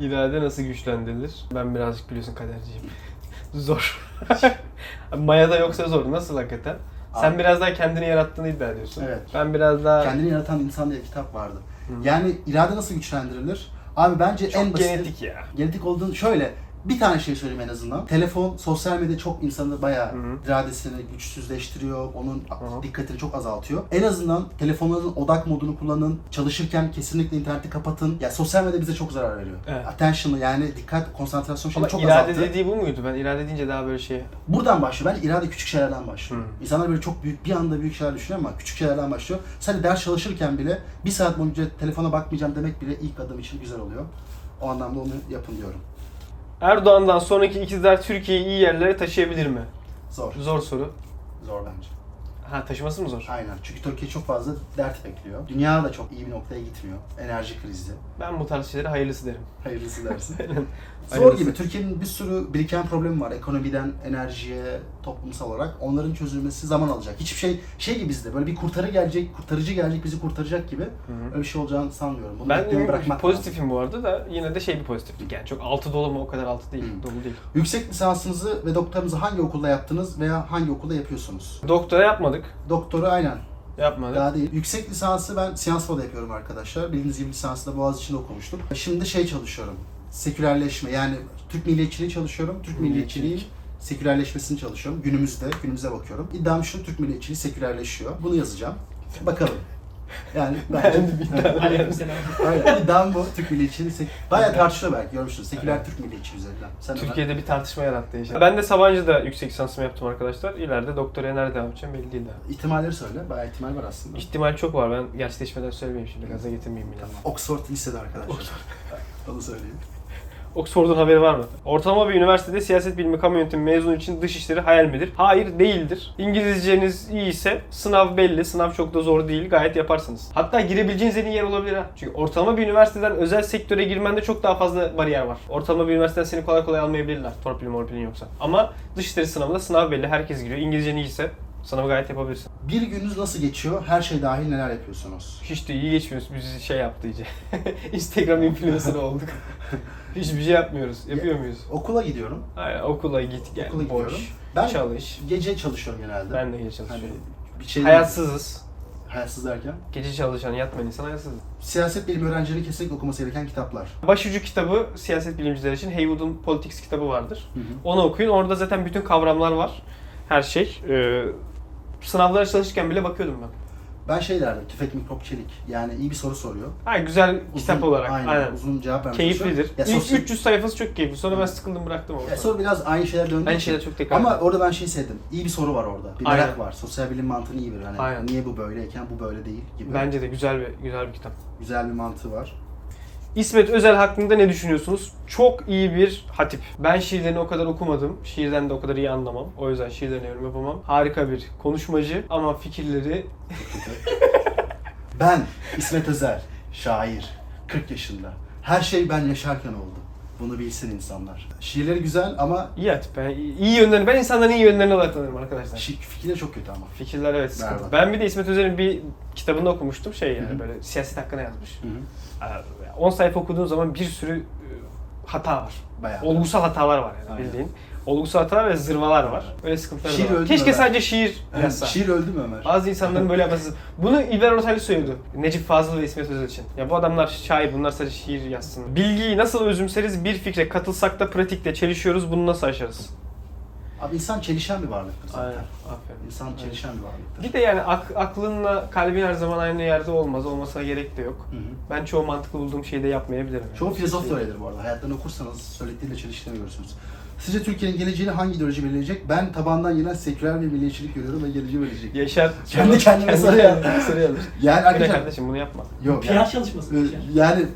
İrade nasıl güçlendirilir? Ben birazcık biliyorsun kaderciyim. zor. Mayada yoksa zor. Nasıl hakikaten? Sen
Abi.
biraz daha kendini yarattığını iddia ediyorsun.
Evet.
Ben biraz daha
Kendini yaratan insan diye bir kitap vardı. Yani irade nasıl güçlendirilir? Abi bence
çok
en basit
genetik ya.
genetik olduğunu şöyle bir tane şey söyleyeyim en azından. Telefon, sosyal medya çok insanı bayağı
Hı hı.
iradesini güçsüzleştiriyor, onun
hı.
dikkatini çok azaltıyor. En azından telefonların odak modunu kullanın, çalışırken kesinlikle interneti kapatın. Ya sosyal medya bize çok zarar veriyor.
Evet.
Attention'ı yani dikkat, konsantrasyon şeyini
Ama
çok
irade
azalttı.
dediği bu muydu? Ben irade deyince daha böyle şey...
Buradan başlıyor. Bence irade küçük şeylerden başlıyor.
Hı.
İnsanlar böyle çok büyük, bir anda büyük şeyler düşünüyor ama küçük şeylerden başlıyor. Sen ders çalışırken bile bir saat boyunca telefona bakmayacağım demek bile ilk adım için güzel oluyor. O anlamda onu yapın diyorum.
Erdoğan'dan sonraki ikizler Türkiye'yi iyi yerlere taşıyabilir mi?
Zor.
Zor soru.
Zor bence.
Ha taşıması mı zor?
Aynen. Çünkü Türkiye çok fazla dert bekliyor. Dünya da çok iyi bir noktaya gitmiyor. Enerji krizi.
Ben bu tarz şeylere hayırlısı derim.
Hayırlısı dersin. Zor
Hayırlısı.
gibi. Türkiye'nin bir sürü biriken problemi var. Ekonomiden enerjiye, toplumsal olarak. Onların çözülmesi zaman alacak. Hiçbir şey şey gibi bizde. Böyle bir kurtarı gelecek, kurtarıcı gelecek, bizi kurtaracak gibi.
hı.
Öyle bir şey olacağını sanmıyorum. Bunu beklemeyi
Ben
bırakmak lazım.
pozitifim bu arada da yine de şey bir pozitiflik yani çok altı dolu mu o kadar altı değil,
Hı.
dolu değil.
Yüksek lisansınızı ve doktoranızı hangi okulda yaptınız veya hangi okulda yapıyorsunuz?
Doktora yapmadık,
Doktoru aynen
yapmadık.
Daha değil. Yüksek lisansı ben Sciences Po'da yapıyorum arkadaşlar. Bildiğiniz gibi lisansı da Boğaziçi'nde okumuştum. Şimdi de şey çalışıyorum. Sekülerleşme yani Türk milliyetçiliği çalışıyorum. Türk
Milliyetçilik.
milliyetçiliği sekülerleşmesini çalışıyorum. Günümüzde, günümüze bakıyorum. İddiam şu Türk milliyetçiliği sekülerleşiyor. Bunu yazacağım. Bakalım. Yani bence...
Aleykümselam.
Aynen. İddiam bu. Türk milliyetçiliği sek... Bayağı tartışılıyor belki görmüşsünüz. Seküler Türk milliyetçiliği üzerinden. Sen Ömer.
Türkiye'de bir tartışma yarattı işte. Ben de Sabancı'da yüksek lisansımı yaptım arkadaşlar. İleride doktoraya nerede yapacağım belli değil daha.
İhtimalleri söyle. Bayağı ihtimal var aslında.
İhtimal çok var. Ben gerçekleşmeden söylemeyeyim şimdi. Gaza getirmeyeyim bile.
Oxford lisede arkadaşlar. Onu söyleyeyim.
Oxford'un haberi var mı? Ortalama bir üniversitede siyaset bilimi kamu yönetimi mezunu için dış işleri hayal midir? Hayır değildir. İngilizceniz iyi ise sınav belli. Sınav çok da zor değil. Gayet yaparsınız. Hatta girebileceğiniz en iyi yer olabilir ha. Çünkü ortalama bir üniversiteden özel sektöre girmende çok daha fazla bariyer var. Ortalama bir üniversiteden seni kolay kolay almayabilirler. Torpilin morpilin yoksa. Ama dış işleri sınavında sınav belli. Herkes giriyor. İngilizcen iyiyse sınavı gayet yapabilirsin.
Bir gününüz nasıl geçiyor? Her şey dahil neler yapıyorsunuz?
Hiç de iyi geçmiyoruz. Biz şey yaptı iyice. Instagram influencer olduk. Hiçbir şey yapmıyoruz. Yapıyor muyuz?
Okula gidiyorum.
Hayır, okula git gel.
Okula
boş.
gidiyorum. Ben
Çalış.
gece çalışıyorum genelde.
Ben de gece
Hani
çalışıyorum.
bir şey
Hayatsızız.
Hayatsız derken?
Gece çalışan, yatmayan insan hayatsız.
Siyaset bilimi öğrencilerinin kesinlikle okuması gereken kitaplar.
Başucu kitabı siyaset bilimcileri için Haywood'un Politics kitabı vardır.
Hı hı.
Onu okuyun. Orada zaten bütün kavramlar var. Her şey. Ee, sınavlara çalışırken bile bakıyordum ben.
Ben şey derdim, tüfek mikrop çelik. Yani iyi bir soru soruyor.
Ha, güzel
Uzun-
kitap olarak.
Aynen,
Aynen.
uzun cevap vermiş.
Keyiflidir.
Ya,
İlk
sosyal-
300 sayfası çok keyifli. Sonra ben sıkıldım bıraktım ama.
ya, soru biraz aynı şeyler döndüğü
Ben
için.
şeyler çok tekrar
Ama orada ben şey sevdim. İyi bir soru var orada. Bir
Aynen.
merak var. Sosyal bilim mantığını iyi bir. Hani
Aynen.
niye bu böyleyken bu böyle değil gibi.
Bence de güzel bir güzel bir kitap.
Güzel bir mantığı var.
İsmet Özel hakkında ne düşünüyorsunuz? Çok iyi bir hatip. Ben şiirlerini o kadar okumadım. Şiirden de o kadar iyi anlamam. O yüzden şiirden yorum yapamam. Harika bir konuşmacı ama fikirleri
Ben İsmet Özel, şair, 40 yaşında. Her şey ben yaşarken oldu. Bunu bilsin insanlar. Şiirleri güzel ama
iyi hatip. Ben iyi yönlerini ben insanların iyi yönlerini olarak tanırım arkadaşlar.
şi- fikirleri çok kötü ama.
Fikirler evet sıkıntı.
Berbat.
Ben bir de İsmet Özel'in bir kitabında okumuştum şey yani
Hı hı.
böyle siyaset hakkında yazmış.
Hı hı.
Ee, 10 sayfa okuduğun zaman bir sürü e, hata var.
Bayağı.
Olgusal hatalar var yani
Aynen.
bildiğin. Olgusal hatalar ve zırvalar var. Böyle sıkıntılar
Şiir
da var.
öldü
Keşke
Ömer.
sadece şiir
Evet,
yazsa.
şiir öldü mü Ömer?
Bazı insanların böyle yapması. Bunu İlber Ortaylı söylüyordu. Necip Fazıl ve İsmet Özel için. Ya bu adamlar şair, bunlar sadece şiir yazsın. Bilgiyi nasıl özümseriz bir fikre katılsak da pratikte çelişiyoruz, bunu nasıl aşarız?
Abi insan çelişen bir varlıktır zaten.
Aynen, aferin.
İnsan çelişen bir varlıktır.
Bir de yani ak- aklınla kalbin her zaman aynı yerde olmaz, olmasına gerek de yok.
Hı hı.
Ben çoğu mantıklı bulduğum şeyi de yapmayabilirim. yani.
Çoğu filozof da öyledir bu arada. Hayatlarını okursanız söylediğiyle çeliştiğini görürsünüz. Sizce Türkiye'nin geleceğini hangi ideoloji belirleyecek? Ben tabandan yine seküler ve milliyetçilik görüyorum ve geleceği belirleyecek.
Yaşar.
Kendi kendime soru yaz-
Soru yazmış.
Yani
Bir de
arkadaşlar...
kardeşim bunu yapma.
Yok
PR çalışması mı?
Ee, Yani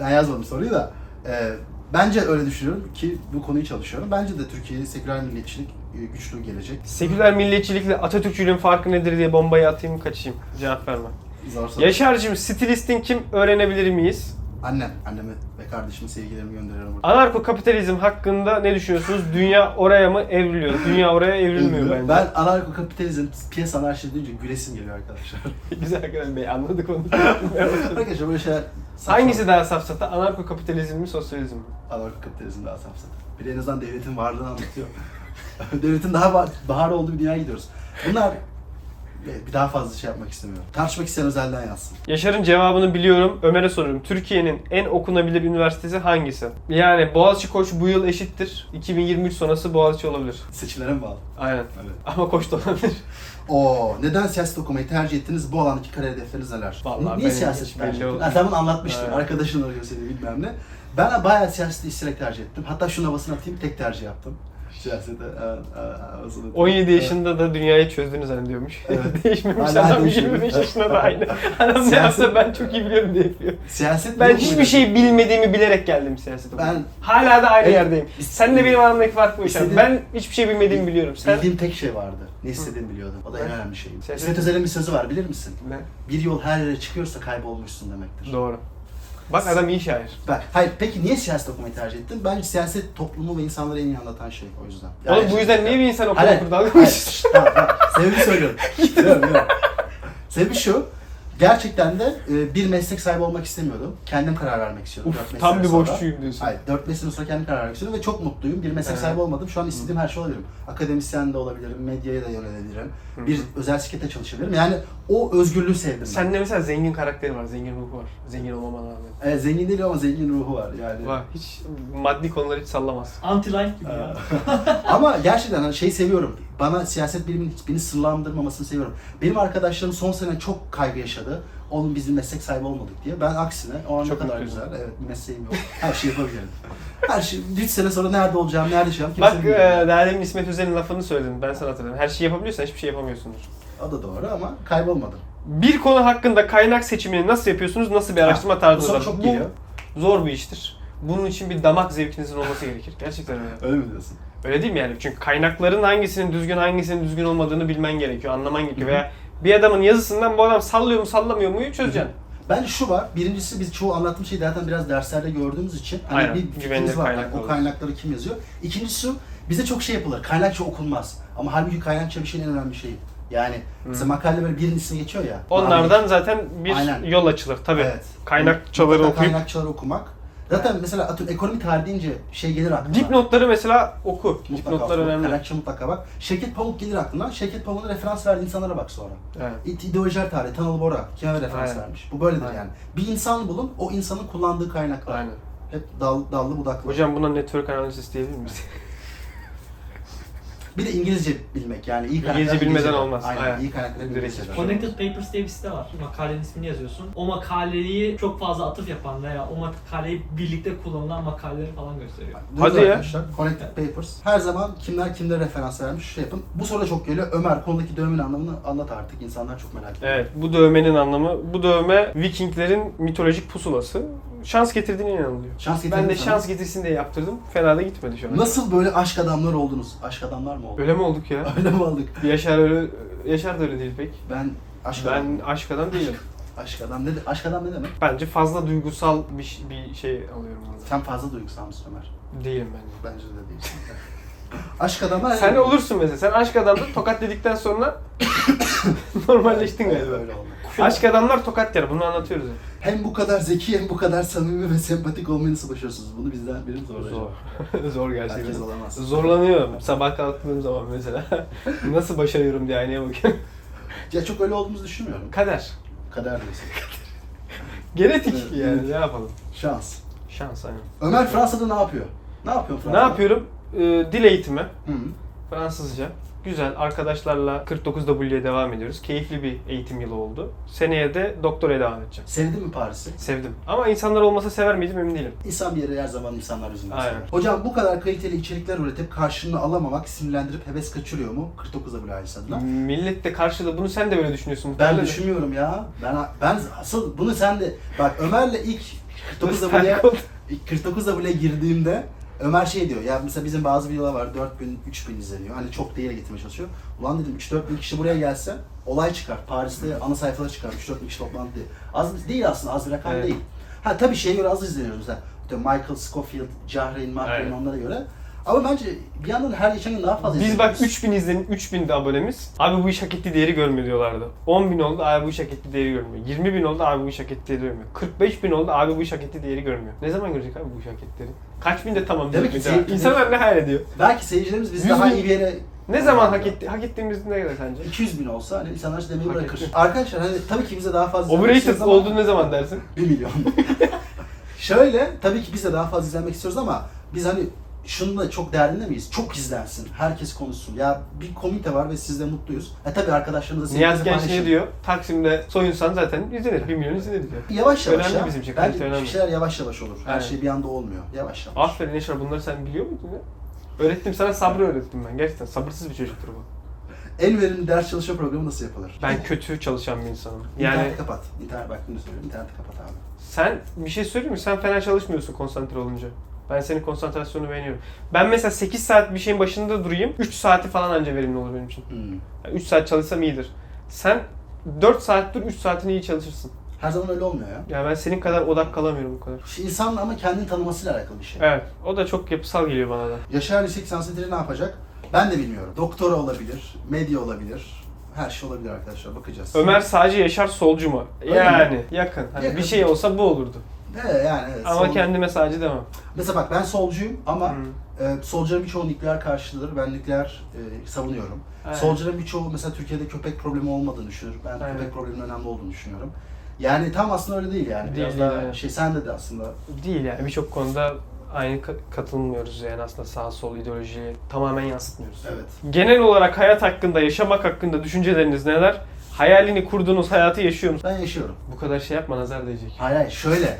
ben yazmadım soruyu da. e, bence öyle düşünüyorum ki bu konuyu çalışıyorum. Bence de Türkiye'de seküler milliyetçilik e, güçlü gelecek.
Seküler milliyetçilikle Atatürkçülüğün farkı nedir diye bombayı atayım kaçayım. Cevap verme.
Zor soru.
Yaşar'cığım stilistin kim öğrenebilir miyiz?
Annem, annemi ve kardeşimi sevgilerimi gönderiyorum. buradan.
Anarko kapitalizm hakkında ne düşünüyorsunuz? Dünya oraya mı evriliyor? Dünya oraya evrilmiyor bence.
Ee, Ben anarko kapitalizm, piyasa anarşi şey deyince gülesim geliyor arkadaşlar.
Güzel Akran Bey anladık onu.
arkadaşlar böyle şeyler saçma.
Hangisi daha safsata? Anarko kapitalizm mi sosyalizm mi?
Anarko kapitalizm daha safsat. Bir de en azından devletin varlığını anlatıyor. devletin daha ba- baharı olduğu bir dünyaya gidiyoruz. Bunlar Evet, bir daha fazla şey yapmak istemiyorum. Tartışmak isteyen özelden yazsın.
Yaşar'ın cevabını biliyorum. Ömer'e soruyorum. Türkiye'nin en okunabilir üniversitesi hangisi? Yani Boğaziçi Koç bu yıl eşittir. 2023 sonrası Boğaziçi olabilir.
Seçilere mi bağlı?
Aynen.
Evet.
Ama Koç da olabilir.
Oo, neden siyaset okumayı tercih ettiniz? Bu alandaki kariyer hedefleriniz neler?
Vallahi
Niye
benim
siyaset
hiç
tercih
belli
ettin?
olmaz.
Ha, sen bunu anlatmıştın.
Evet.
Arkadaşın arıyor seni bilmem ne. Ben bayağı siyaseti isteyerek tercih ettim. Hatta şuna basın atayım tek tercih yaptım. Siyasete e, e, e, basın atayım.
17 yaşında da dünyayı çözdüğünü zannediyormuş.
Evet.
Değişmemiş
Hala
adam
değişmedi.
25 yaşında da aynı. Adam ne yapsa ben çok iyi biliyorum diye yapıyor.
Siyaset
Ben
bilimi
hiçbir
okudum.
şey bilmediğimi bilerek geldim siyasete.
Ben-
hala da aynı
Evet.
yerdeyim. Sen de benim aramdaki fark bu işte.
İstediğim-
Ben hiçbir şey bilmediğimi biliyorum. Sen
Bildiğim tek şey vardı. Ne istediğimi biliyordum. O da en
Evet.
önemli şeyim.
Siyaset-
İsmet Özel'in bir sözü var bilir misin?
ne?
Bir yol her yere çıkıyorsa kaybolmuşsun demektir.
Doğru. Bak adam iyi şair.
Ben, hayır peki niye siyaset okumayı tercih ettin? Bence siyaset toplumu ve insanları en iyi anlatan şey o yüzden.
Oğlum bu yüzden niye bir insan okul
Hayır,
okur
hayır.
dalgamış?
Şşt, tamam, tamam. Sebebi söylüyorum. Yok, yok. Sebebi şu. Gerçekten de e, bir meslek sahibi olmak istemiyordum. Kendim karar vermek istiyordum. dört
Uf,
mesleğe
tam bir
sonra.
boşçuyum diyorsun.
Hayır, dört mesleğin sonra kendim karar vermek istiyordum ve çok mutluyum. Bir meslek
Hı.
sahibi olmadım. Şu an istediğim her şey olabilirim. Akademisyen de olabilirim, medyaya da yönelebilirim.
Hı.
Bir özel şirkete çalışabilirim. Yani o özgürlüğü sevdim. ben.
Sende mesela zengin karakteri var, zengin ruhu var. Zengin olmamana rağmen.
E, zengin değil ama zengin ruhu var yani.
Var. Hiç maddi konuları hiç sallamaz.
Anti-life gibi ya.
Ama gerçekten hani şey seviyorum. Bana siyaset biliminin hiç beni sırlandırmamasını seviyorum. Benim arkadaşlarım son sene çok kaygı yaşadı. Oğlum biz bir meslek sahibi olmadık diye. Ben aksine o an ne
Çok
kadar
mutluyum.
güzel. Evet bir mesleğim yok. Her şeyi yapabilirim. Her şey, 3 sene sonra nerede olacağım, nerede yaşayacağım kimse
Bak e,
bilmiyor.
daha demin İsmet Özel'in lafını söyledim. Ben sana hatırladım. Her şeyi yapabiliyorsan hiçbir şey yapamıyorsundur.
O da doğru ama kaybolmadım.
Bir konu hakkında kaynak seçimini nasıl yapıyorsunuz? Nasıl bir araştırma
bu soru
tarzınız var?
çok geliyor.
zor bir iştir. bunun için bir damak zevkinizin olması gerekir. Gerçekten öyle.
Öyle mi diyorsun?
Öyle değil mi yani? Çünkü kaynakların hangisinin düzgün hangisinin düzgün olmadığını bilmen gerekiyor, anlaman gerekiyor. Veya bir adamın yazısından bu adam sallıyor mu sallamıyor muyu çözeceksin.
Bence şu var. Birincisi biz çoğu anlattığım şeyi zaten biraz derslerde gördüğümüz için hani
Aynen,
bir fikrimiz
güvenilir
var.
kaynak
o
olur.
kaynakları kim yazıyor? İkincisi bize çok şey yapılır. Kaynakça okunmaz. Ama halbuki kaynakça bir şeyin en önemli şeyi. Yani mesela makale böyle birincisine geçiyor ya.
Onlardan zaten bir
Aynen.
yol açılır tabii.
Evet.
Kaynakçaları
Mutlaka
okuyup
Kaynakçaları okumak. Zaten mesela atıyorum ekonomi tarihi deyince şey gelir aklına.
dipnotları mesela oku. Dipnotlar
oku.
önemli.
Kaynakça mutlaka bak. Şevket Pamuk gelir aklına. Şevket Pamuk'un referans verdiği insanlara bak sonra.
Evet.
İt- İdeolojiler tarihi, Tanıl Bora kime referans
Aynen.
vermiş? Bu böyledir
Aynen.
yani. Bir insan bulun, o insanın kullandığı kaynaklar.
Aynen.
Hep dal, dallı budaklı.
Hocam buna network analiz diyebilir miyiz?
Bir de İngilizce bilmek yani. iyi kaynaklar
İngilizce bilmeden
İngilizce.
olmaz.
Aynen,
Aynen.
iyi kaynaklar
Direkt
İngilizce.
hiçbir şey
Connected Papers diye bir site var. Makalenin ismini yazıyorsun. O makaleyi çok fazla atıf yapan veya o makaleyi birlikte kullanılan makaleleri falan gösteriyor.
Duyuyoruz
Hadi ya.
arkadaşlar, Connected Papers. Her zaman kimler kimlere referans vermiş şey yapın. Bu soru çok geliyor. Ömer konudaki dövmenin anlamını anlat artık. İnsanlar çok merak ediyor.
Evet, bu dövmenin anlamı, bu dövme Vikinglerin mitolojik pusulası. Şans getirdiğine inanılıyor.
Şans getirdin
Ben de
sana.
şans getirsin diye yaptırdım. Fena da gitmedi şu an.
Nasıl böyle aşk adamlar oldunuz? Aşk adamlar mı oldunuz?
Öyle mi olduk ya?
Öyle mi olduk?
Yaşar öyle, Yaşar da öyle değil pek.
Ben aşk adam.
Ben aşk adam değilim.
Aşk adam ne, de- aşk adam ne demek?
Bence fazla duygusal bir, ş- bir şey alıyorum orada.
Sen fazla duygusal mısın Ömer?
Değilim bence.
Bence de değilsin. aşk adamlar...
Sen olursun mesela. Sen aşk adamda tokat dedikten sonra normalleştin
Öyle,
galiba.
öyle oldu.
Aşk adamlar tokat yer. Bunu anlatıyoruz. yani.
Hem bu kadar zeki hem bu kadar samimi ve sempatik olmaya nasıl başarıyorsunuz? Bunu bizden birimiz zor. Zor.
Zor gerçekten.
Herkes olamaz.
Zorlanıyorum sabah kalktığım zaman mesela. Nasıl başarıyorum diye aynaya bakıyorum.
Ya çok öyle olduğumuzu düşünmüyorum.
Kader.
Kader diyorsun.
Genetik
Evet,
yani
evet.
ne yapalım.
Şans.
Şans aynen.
Ömer Fransa'da ne yapıyor? Ne yapıyor
Ne
Fransa'da?
yapıyorum? Ee, dil eğitimi.
Hı.
Fransızca. Güzel. Arkadaşlarla 49W'ye devam ediyoruz. Keyifli bir eğitim yılı oldu. Seneye de doktoraya devam edeceğim.
Sevdin mi Paris'i?
Sevdim. Ama insanlar olmasa sever miydim emin değilim.
İnsan bir yere her zaman insanlar yüzünden
Aynen.
sever. Hocam bu kadar kaliteli içerikler üretip karşılığını alamamak sinirlendirip heves kaçırıyor mu? 49'a bile ailesi adına.
Millet de karşılığı bunu sen de böyle düşünüyorsun.
Ben
muhtemelen.
düşünmüyorum ya. Ben ben asıl bunu sen de bak Ömer'le ilk 49
Nasıl
W'ye
fark oldu?
49 W'ye girdiğimde Ömer şey diyor ya mesela bizim bazı videolar var 4 bin 3 bin izleniyor. Hani çok değere getirmeye çalışıyor. Ulan dedim 3 4 bin kişi buraya gelse olay çıkar. Paris'te ana sayfaları çıkar 3 4 bin kişi toplandı diye. Az bir- değil aslında az bir rakam
Evet.
değil. Ha tabii şeye göre az izleniyoruz mesela. İşte Michael Scofield, Cahreyn, Mahreyn
Aynen.
onlara göre. Ama bence bir yandan her geçen gün daha fazla
Biz bak
izleniyoruz.
3000 izlenin 3000 de abonemiz. Abi bu iş hak ettiği değeri görmüyor diyorlardı. 10.000 oldu abi bu iş hak ettiği değeri görmüyor. 20.000 oldu abi bu iş hak ettiği değeri görmüyor. 45.000 oldu abi bu iş hak ettiği değeri görmüyor. Ne zaman görecek abi bu iş hak ettiği değeri? Kaç bin de tamam.
Demek
diyecek
ki
bir daha.
zevkli
İnsanlar ne hayal ediyor?
belki seyircilerimiz biz
Yüz
daha
bin-
iyi bir yere
Ne zaman hak etti hak ettiğimiz ne kadar sence?
200 bin olsa hani insanlar işte demeyi
Hak
bırakır.
etti.
Arkadaşlar hani tabii ki bize daha fazla izlenmek
Overrated
istiyoruz ama-
olduğu ne şey zaman dersin?
1 milyon. Şöyle tabii ki biz de daha fazla izlenmek istiyoruz ama biz hani şunu da çok derdinde miyiz? Çok izlensin. Herkes konuşsun. Ya bir komite var ve siz de mutluyuz. E tabii arkadaşlarınızla
Nihat
sevgilinizle
Genç ne
paylaşın.
diyor? Taksim'de soyunsan zaten izlenir. 1 milyon izlenir diyor.
Yavaş yavaş
Önemli
ya.
bizim için,
Bence
kalite önemli. Ah.
şeyler yavaş yavaş olur. Her
Aynen.
şey bir anda olmuyor. Yavaş yavaş.
Aferin Yaşar bunları sen biliyor muydun ya? Öğrettim sana sabrı öğrettim ben. Gerçekten sabırsız bir çocuktur bu.
En verimli ders çalışma programı nasıl yapılır?
Ben kötü çalışan bir insanım. Yani
İnterneti kapat. İnternet bak bunu söylüyorum. İnterneti kapat abi.
Sen bir şey söyleyeyim mi? Sen fena çalışmıyorsun konsantre olunca. Ben senin konsantrasyonunu beğeniyorum. Ben mesela 8 saat bir şeyin başında durayım. 3 saati falan anca verimli olur benim için.
Hmm.
Yani 3 saat çalışsam iyidir. Sen 4 saat dur 3 saatini iyi çalışırsın.
Her zaman öyle olmuyor ya.
Yani ben senin kadar odak kalamıyorum bu kadar.
Şu İnsanın ama kendini tanımasıyla alakalı bir şey.
Evet. O da çok yapısal geliyor bana da.
Yaşar Yüksek Sansetleri ne yapacak? Ben de bilmiyorum. Doktora olabilir, medya olabilir. Her şey olabilir arkadaşlar. Bakacağız.
Ömer sadece Yaşar solcu mu?
Öyle
yani yakın. Hani
Yakın.
bir şey olsa bu olurdu.
He, yani evet,
Ama
sol-
kendime sadece demem.
Mesela bak ben solcuyum ama
Hı.
e, solcuların birçoğu nükleer karşıdır. Ben nükleer e, savunuyorum.
Aynen.
Solcuların birçoğu mesela Türkiye'de köpek problemi olmadığını düşünür. Ben
Aynen.
köpek probleminin önemli olduğunu düşünüyorum. Yani tam aslında öyle değil yani. Biraz
Değil,
daha
aynen.
şey sen de de aslında
Değil yani birçok konuda aynı ka- katılmıyoruz yani aslında sağ sol ideolojiyi tamamen yansıtmıyoruz.
evet.
Genel olarak hayat hakkında, yaşamak hakkında düşünceleriniz neler? Hayalini kurduğunuz hayatı yaşıyor musunuz?
Ben yaşıyorum.
Bu kadar şey yapma nazar değecek.
Hayır hayır şöyle.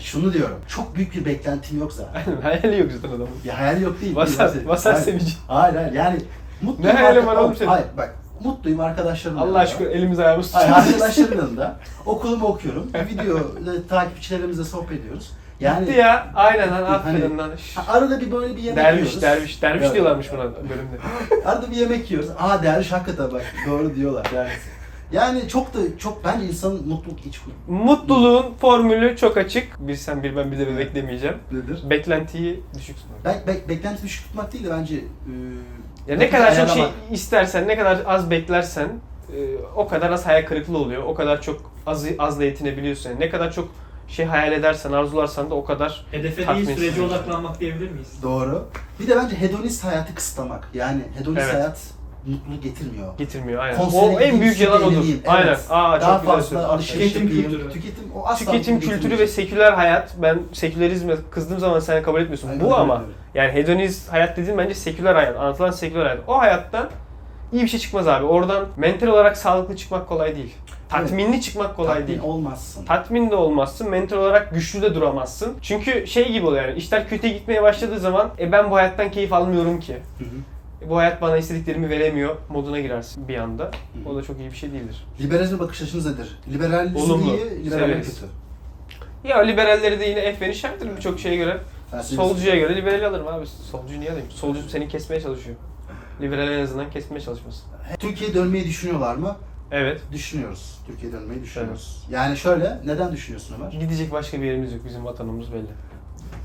Şunu diyorum. Çok büyük bir beklentim yok zaten.
Hayali yok zaten adamın.
Ya hayal yok değil.
Vasat-
Değil.
vasat
Hayır.
sevici.
Hayır hayır yani mutluyum.
Ne hayalin
arka-
var oğlum senin?
Hayır bak mutluyum arkadaşlarım.
Allah aşkına elimiz ayağımız
Hayır
tutuyor.
arkadaşlarım yanında okulumu okuyorum. Video e, takipçilerimizle sohbet ediyoruz. Yani
Gitti ya. Aynen lan aferin
Hani-
lan. Şşş.
ha, arada bir böyle bir yemek
Derviş,
yiyoruz.
derviş, derviş
Evet.
diyorlarmış buna bölümde.
Arada bir yemek yiyoruz. Aa derviş hakikaten bak doğru diyorlar yani. Yani çok da çok bence insanın mutluluk iç
Mutluluğun formülü çok açık. Bir sen bir ben bir de bebek demeyeceğim.
nedir?
Beklentiyi düşük tutmak.
Be- be- beklenti düşük tutmak değil de bence e,
Ya ne
mutluluğu
kadar çok şey
ayarlamak.
istersen, ne kadar az beklersen e, o kadar az hayal kırıklığı oluyor. O kadar çok az azla yetinebiliyorsun. Yani ne kadar çok şey hayal edersen, arzularsan da o kadar
Hedefe
Tatmin
değil sürece
edici.
odaklanmak diyebilir miyiz?
Doğru. Bir de bence hedonist hayatı kısıtlamak. Yani hedonist
Evet.
hayat mutluluk getirmiyor.
getirmiyor. Aynen.
Konsere
O en
gideyim,
büyük yalan
sürekli
odur.
yenileyim. Evet.
Aynen.
Daha
Aa, çok güzel
fazla
söyledin.
alışveriş
Tüketim
yapayım.
kültürü.
Tüketim o asla
Tüketim
mutluluk
kültürü ve
getirmeyecek.
seküler hayat. Ben sekülerizme kızdığım zaman sen kabul etmiyorsun.
Aynen
Bu
öyle
ama
diyorum.
yani hedonist hayat dediğin bence seküler hayat. Anlatılan seküler hayat. O hayattan iyi bir şey çıkmaz abi. Oradan mental olarak sağlıklı çıkmak kolay değil. Tatminli çıkmak kolay
Tatmin
değil.
olmazsın.
Tatmin de olmazsın, mental olarak güçlü de duramazsın. Çünkü şey gibi oluyor yani işler kötüye gitmeye başladığı zaman e ben bu hayattan keyif almıyorum ki.
Hı hı.
E, bu hayat bana istediklerimi veremiyor moduna girersin bir anda. O da çok iyi bir şey değildir.
Liberalizme bakış açınız nedir? Liberalizm
Olumlu.
iyi, liberalizm
Severiz.
kötü.
Ya liberalleri de yine efveri şarttır birçok şeye göre.
Felsefesi.
Solcuya göre liberal alırım abi. Solcuyu niye alayım? Solcu seni kesmeye çalışıyor. Liberal en azından kesmeye çalışmasın.
Türkiye'ye dönmeyi düşünüyorlar mı?
Evet.
Düşünüyoruz. Türkiye'ye dönmeyi düşünüyoruz. Yani şöyle, neden düşünüyorsun Ömer?
Gidecek başka bir yerimiz yok. Bizim vatanımız belli.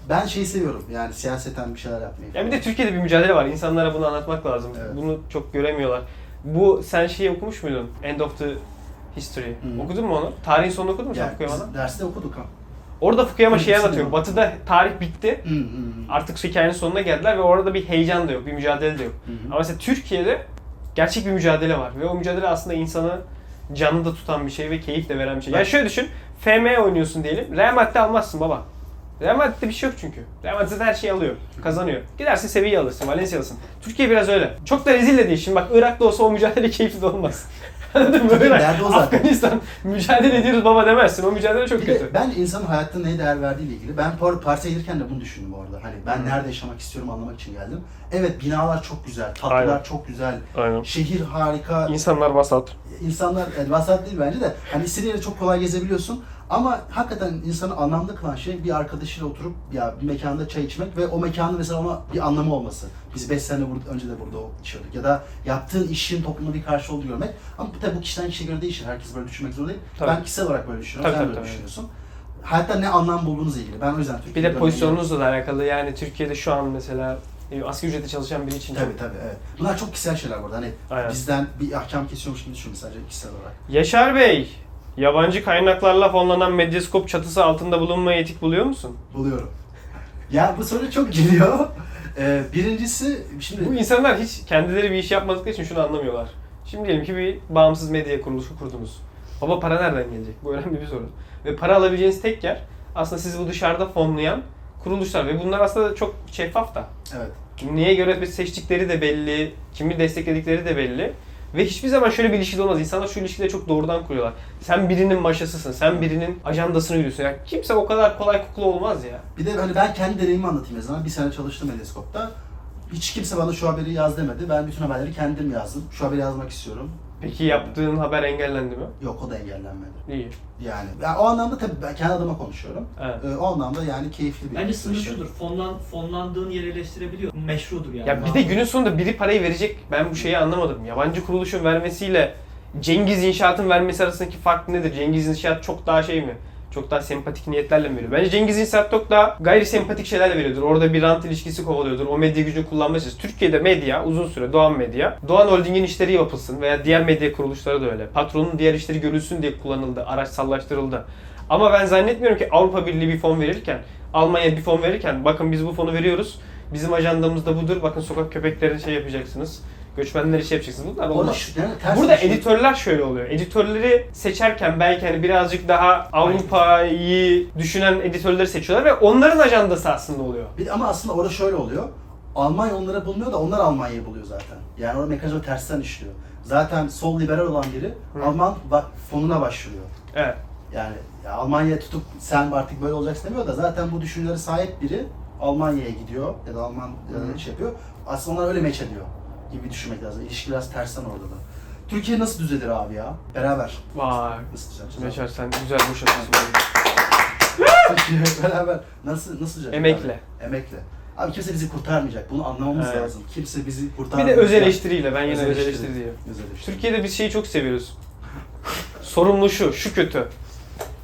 Ben şeyi seviyorum yani siyaseten bir şeyler yapmayı.
Ya bir de Türkiye'de bir mücadele var. İnsanlara bunu anlatmak lazım.
Evet.
Bunu çok göremiyorlar. Bu sen şeyi okumuş muydun? End of the History.
Hı.
Okudun mu onu? Tarihin sonunu okudun mu sen
yani
Fukuyama'dan?
biz derste okuduk ha.
Orada Fukuyama şeyi
Hı,
anlatıyor.
hı.
Batı'da tarih bitti.
Hı hı hı.
Artık şu hikayenin sonuna geldiler ve orada bir heyecan da yok, bir mücadele de yok.
Hı hı.
Ama mesela Türkiye'de gerçek bir mücadele var ve o mücadele aslında insanı canlı da tutan bir şey ve keyif de veren bir şey. Yani şöyle düşün, FM oynuyorsun diyelim, Real Madrid'de almazsın baba. Real Madrid'de bir şey yok çünkü. Real Madrid zaten her şeyi alıyor, kazanıyor. Gidersin Sevilla alırsın, Valencia alırsın. Türkiye biraz öyle. Çok da rezil de değil. Şimdi bak Irak'ta olsa o mücadele keyifli de olmaz. Anladın mı?
Tabii,
Irak,
derdi o zaten.
Afganistan mücadele ediyoruz baba demezsin. O mücadele çok
Bir
kötü.
de ben insanın hayatta neye değer verdiğiyle ilgili. Ben par- partiye gelirken de bunu düşündüm bu arada. Hani ben
Hı.
nerede yaşamak istiyorum anlamak için geldim. Evet binalar çok güzel, tatlılar
Aynen.
çok güzel,
Aynen.
şehir harika,
İnsanlar vasat.
insanlar yani vasat değil bence de. Hani istediğin yere çok kolay gezebiliyorsun. Ama hakikaten insanı anlamlı kılan şey bir arkadaşıyla oturup ya bir mekanda çay içmek ve o mekanın mesela ona bir anlamı olması. Biz 5 sene burada, önce de burada içiyorduk. Ya da yaptığın işin toplumda bir karşı olduğu görmek. Ama tabii bu kişiden kişiye göre değişir. Herkes böyle düşünmek zorunda değil.
Tabii.
Ben kişisel olarak böyle düşünüyorum. Sen
Tabii, tabii,
böyle
tabii.
düşünüyorsun. Hayatta ne anlam bulduğunuzla ilgili. Ben o yüzden Türkiye'de
Bir de
dönmeyi-
pozisyonunuzla da alakalı. Yani Türkiye'de şu an mesela e, asgari ücretle çalışan biri için çok
Tabii tabii evet. Bunlar çok kişisel şeyler burada. Hani
Aynen.
bizden bir ahkam kesiyormuş gibi düşün sadece kişisel olarak.
Yaşar Bey, yabancı kaynaklarla fonlanan medyaskop çatısı altında bulunmayı etik buluyor musun?
Buluyorum. Ya bu soru çok geliyor. Ee, birincisi şimdi
Bu insanlar hiç kendileri bir iş yapmadıkları için şunu anlamıyorlar. Şimdi diyelim ki bir bağımsız medya kuruluşu kurdunuz. Baba para nereden gelecek? Bu önemli bir soru. Ve para alabileceğiniz tek yer aslında sizi bu dışarıda fonlayan kuruluşlar. Ve bunlar aslında çok şeffaf da.
evet.
Neye göre seçtikleri de belli, kimi destekledikleri de belli. Ve hiçbir zaman şöyle bir ilişki de olmaz. İnsanlar şu ilişkileri çok doğrudan kuruyorlar. Sen birinin maşasısın, sen birinin ajandasını yürüyorsun. Yani kimse o kadar kolay kukla olmaz ya.
Bir de hani ben kendi deneyimi anlatayım zaman. Bir sene çalıştım Medeskop'ta. Hiç kimse bana şu haberi yaz demedi. Ben bütün haberleri kendim yazdım. Şu haberi yazmak istiyorum.
Peki yaptığın haber engellendi mi?
Yok o da engellenmedi.
İyi.
Yani ben o anlamda tabii ben kendi adıma konuşuyorum.
Evet.
Ee, o anlamda yani keyifli bir
Bence
yaklaşım.
sınırcıdır. Fonlan, fonlandığın yeri eleştirebiliyor. Meşrudur yani.
Ya bir de günün sonunda biri parayı verecek. Ben bu şeyi anlamadım. Yabancı kuruluşun vermesiyle Cengiz İnşaat'ın vermesi arasındaki fark nedir? Cengiz İnşaat çok daha şey mi? Çok daha sempatik niyetlerle mi veriyor? Bence Cengiz İnşaat çok daha gayri sempatik şeylerle veriyordur. Orada bir rant ilişkisi kovalıyordur. O medya gücünü kullanmaya çalışır. Türkiye'de medya uzun süre Doğan Medya. Doğan Holding'in işleri yapılsın veya diğer medya kuruluşları da öyle. Patronun diğer işleri görülsün diye kullanıldı. Araç sallaştırıldı. Ama ben zannetmiyorum ki Avrupa Birliği bir fon verirken, Almanya bir fon verirken bakın biz bu fonu veriyoruz. Bizim ajandamız da budur. Bakın sokak köpeklerine şey yapacaksınız. Göçmenlere şey yapacaksınız. Bunlar
Orada
olmaz.
şu- yani ters
Burada
düşme-
editörler şöyle oluyor. Editörleri seçerken belki hani birazcık daha Avrupa'yı düşünen editörleri seçiyorlar ve onların ajandası aslında oluyor.
Bir, ama aslında orada şöyle oluyor. Almanya onlara bulmuyor da onlar Almanya'yı buluyor zaten. Yani orada mekanizma tersten işliyor. Zaten sol liberal olan biri
Hı.
Alman bak, fonuna başvuruyor.
Evet.
Yani ya Almanya'ya tutup sen artık böyle olacaksın demiyor da zaten bu düşüncelere sahip biri Almanya'ya gidiyor ya da Alman ya da şey yapıyor. Aslında onlar öyle meç ediyor gibi düşünmek lazım. İlişki biraz tersten orada da. Türkiye nasıl düzelir abi ya? Beraber
Vay.
nasıl düzeleceğiz? abi?
Meşer sen güzel boş atıyorsun.
Türkiye beraber nasıl nasıl olacak?
Emekle.
Abi? Emekle. Abi kimse bizi kurtarmayacak. Bunu anlamamız
Evet.
lazım. Kimse bizi
Bir
kurtarmayacak.
de öz eleştiriyle ben yine öz
Öz eleştiri.
eleştiri diyorum.
Öz eleştiri.
Türkiye'de biz şeyi çok seviyoruz. Sorumlu şu, şu kötü.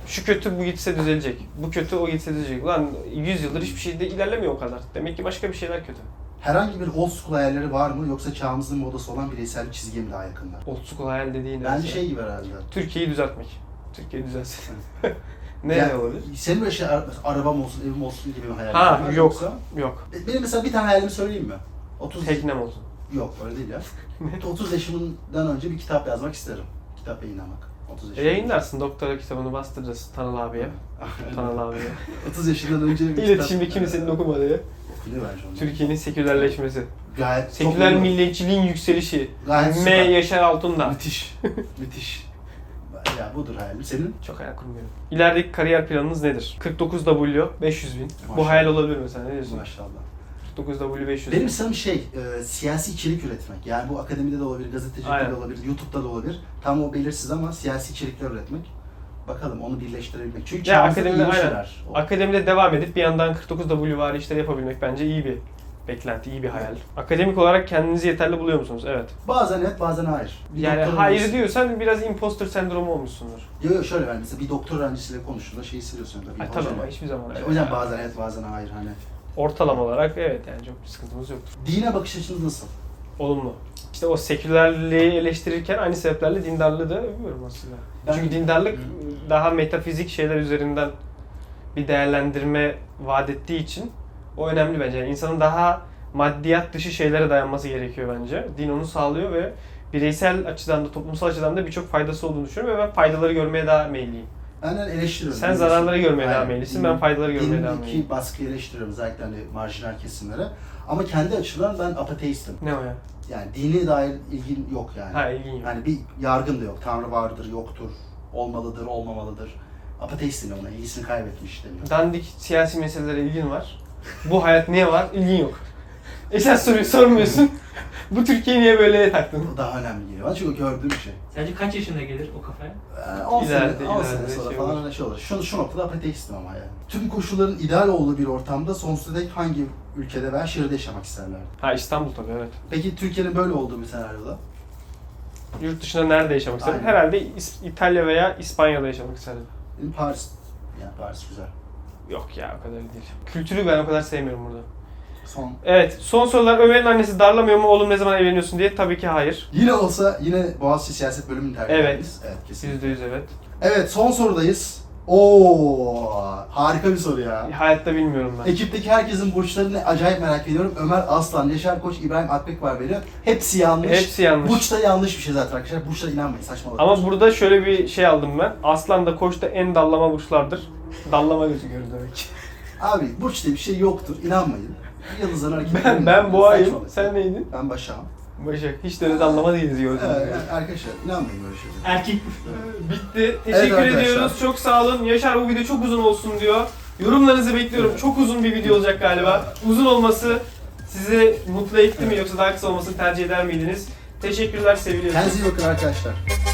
Şu kötü bu gitse düzelecek. Bu kötü o gitse düzelecek. Ulan 100 yıldır hiçbir şey de ilerlemiyor o kadar. Demek ki başka bir şeyler kötü.
Herhangi bir old school hayalleri var mı yoksa çağımızın modası olan bireysel çizgiye mi daha yakınlar?
Old school hayal dediğin
Bence
neyse.
şey gibi herhalde.
Türkiye'yi düzeltmek. Türkiye düzelsin. ne
Yani
olabilir?
Senin böyle şey ara- arabam olsun, evim olsun gibi bir hayalin
Ha,
var mı?
yok.
Yoksa-
Yok.
Be- Benim mesela bir tane hayalimi söyleyeyim mi? 30
Teknem olsun.
Yok öyle değil ya. 30 yaşımdan önce bir kitap yazmak isterim. Kitap yayınlamak. 30
E,
yaşımdan.
yayınlarsın doktora kitabını bastırırız Tanıl abiye. Tanıl abiye.
30 yaşından önce bir
İletişimde
kitap-
kimsenin okumadığı.
Okunuyor bence onu.
Türkiye'nin sekülerleşmesi.
Gayet
Seküler
çok-
milliyetçiliğin yükselişi.
Gayet
M.
süper.
Yaşar Altundağ.
Müthiş. Müthiş. Ya budur hayalim. Senin?
Çok hayal kurmuyorum. İlerideki kariyer planınız nedir? 49 W 500 bin. Bu
Maşallah.
hayal olabilir mesela ne diyorsun?
Maşallah.
49 W 500
Benim
bin.
sanırım şey, e, siyasi içerik üretmek. Yani bu akademide de olabilir, gazetecilikte
Aynen.
de olabilir, YouTube'da da olabilir. Tam o belirsiz ama siyasi içerikler üretmek. Bakalım onu birleştirebilmek. Çünkü
Ya
çağımızda
akademide
iyi
aynen.
şeyler. O-
Akademide devam edip bir yandan 49 W vari işleri yapabilmek bence iyi bir beklenti, iyi bir hayal. Akademik olarak kendinizi yeterli buluyor musunuz? Evet.
Bazen evet, bazen hayır. Bir
Yani
doktor
hayır
öğrencisi-
diyorsan biraz imposter sendromu olmuşsundur.
Yo, yo, şöyle ben mesela bir doktor öğrencisiyle konuştuğunda şey hissediyorsun. Tabii,
Ay,
hocam,
tabii ama hiçbir zaman.
O yüzden bazen evet, bazen hayır. Hani.
Ortalama olarak evet yani çok bir sıkıntımız yoktur.
Dine bakış açınız nasıl?
Olumlu. İşte o sekülerliği eleştirirken aynı sebeplerle dindarlığı da övüyorum aslında.
Ben-
Çünkü dindarlık
Hı.
daha metafizik şeyler üzerinden bir değerlendirme vaat ettiği için o önemli bence. Yani insanın daha maddiyat dışı şeylere dayanması gerekiyor bence. Din onu sağlıyor ve bireysel açıdan da toplumsal açıdan da birçok faydası olduğunu düşünüyorum ve ben faydaları görmeye daha meyilliyim.
Benden eleştiriyorum.
Sen
Biliyorsun.
zararları görmeye
Aynen.
devam meyillisin,
Din-
ben faydaları görmeye devam meyilliyim.
Dindeki baskıyı eleştiriyorum özellikle hani marjinal kesimlere. Ama kendi açımdan ben apateistim.
Ne o ya?
Yani dine dair ilgim yok yani.
Ha ilgin yok.
Yani bir yargım da yok. Tanrı vardır, yoktur, olmalıdır, olmamalıdır. Apateistim ona, ilgisini kaybetmiş deniyor.
dandik siyasi meselelere ilgin var. Bu hayat niye var? İlgin yok. E sen soruyu sormuyorsun. Bu Türkiye'yi niye böyle taktın?
O daha önemli geliyor bana çünkü gördüğüm bir şey.
Sence kaç yaşında gelir o kafaya?
Ee, 10
İleride-
sene, 10 sene
ileride
sonra
şey
falan
olur.
öyle şey olur. Şu, şu noktada apateistim ama yani. Tüm koşulların ideal olduğu bir ortamda sonsuza dek hangi ülkede veya şehirde yaşamak isterlerdi?
Ha İstanbul tabii evet.
Peki Türkiye'nin böyle olduğu bir senaryoda?
Yurt dışında nerede yaşamak isterdin?
Aynen.
Herhalde İs- İtalya veya İspanya'da yaşamak isterdim.
Benim Paris. Yani Paris güzel.
Yok ya o kadar değil. Kültürü ben o kadar sevmiyorum burada.
Son.
Evet son sorular Ömer'in annesi darlamıyor mu oğlum ne zaman evleniyorsun diye tabii ki hayır.
Yine olsa yine Boğaziçi Siyaset Bölümünü tercih
Evet.
ederiz. Evet kesin.
Yüzde yüz evet.
Evet son sorudayız. Oo harika bir soru ya.
E, Hayatta bilmiyorum ben.
Ekipteki herkesin burçlarını acayip merak ediyorum. Ömer Aslan, Yaşar Koç, İbrahim Akbek var benim. Hepsi yanlış.
Hepsi yanlış.
Burç da yanlış bir şey zaten arkadaşlar. Burçlara inanmayın saçmalık.
Ama burada şöyle bir şey aldım ben. Aslan da koç da en dallama burçlardır. Dallama gözü görür demek ki.
Abi burç diye bir şey yoktur. inanmayın. Yıldızlar hareket
Ben,
etmeyin.
ben boğayım.
Saçmalık.
Sen neydin?
Ben başağım.
Başak. Hiç de öyle dallama değiliz gördüğünüz
Evet,
gibi.
evet, arkadaşlar inanmayın böyle şeylere.
Erkek
Bitti. Teşekkür
arkadaşlar.
ediyoruz. Çok sağ olun. Yaşar bu video çok uzun olsun diyor. Yorumlarınızı bekliyorum. Çok uzun bir video olacak galiba. Uzun olması sizi mutlu etti mi yoksa daha kısa olmasını tercih eder miydiniz? Teşekkürler seviliyorsunuz.
Kendinize iyi bakın arkadaşlar.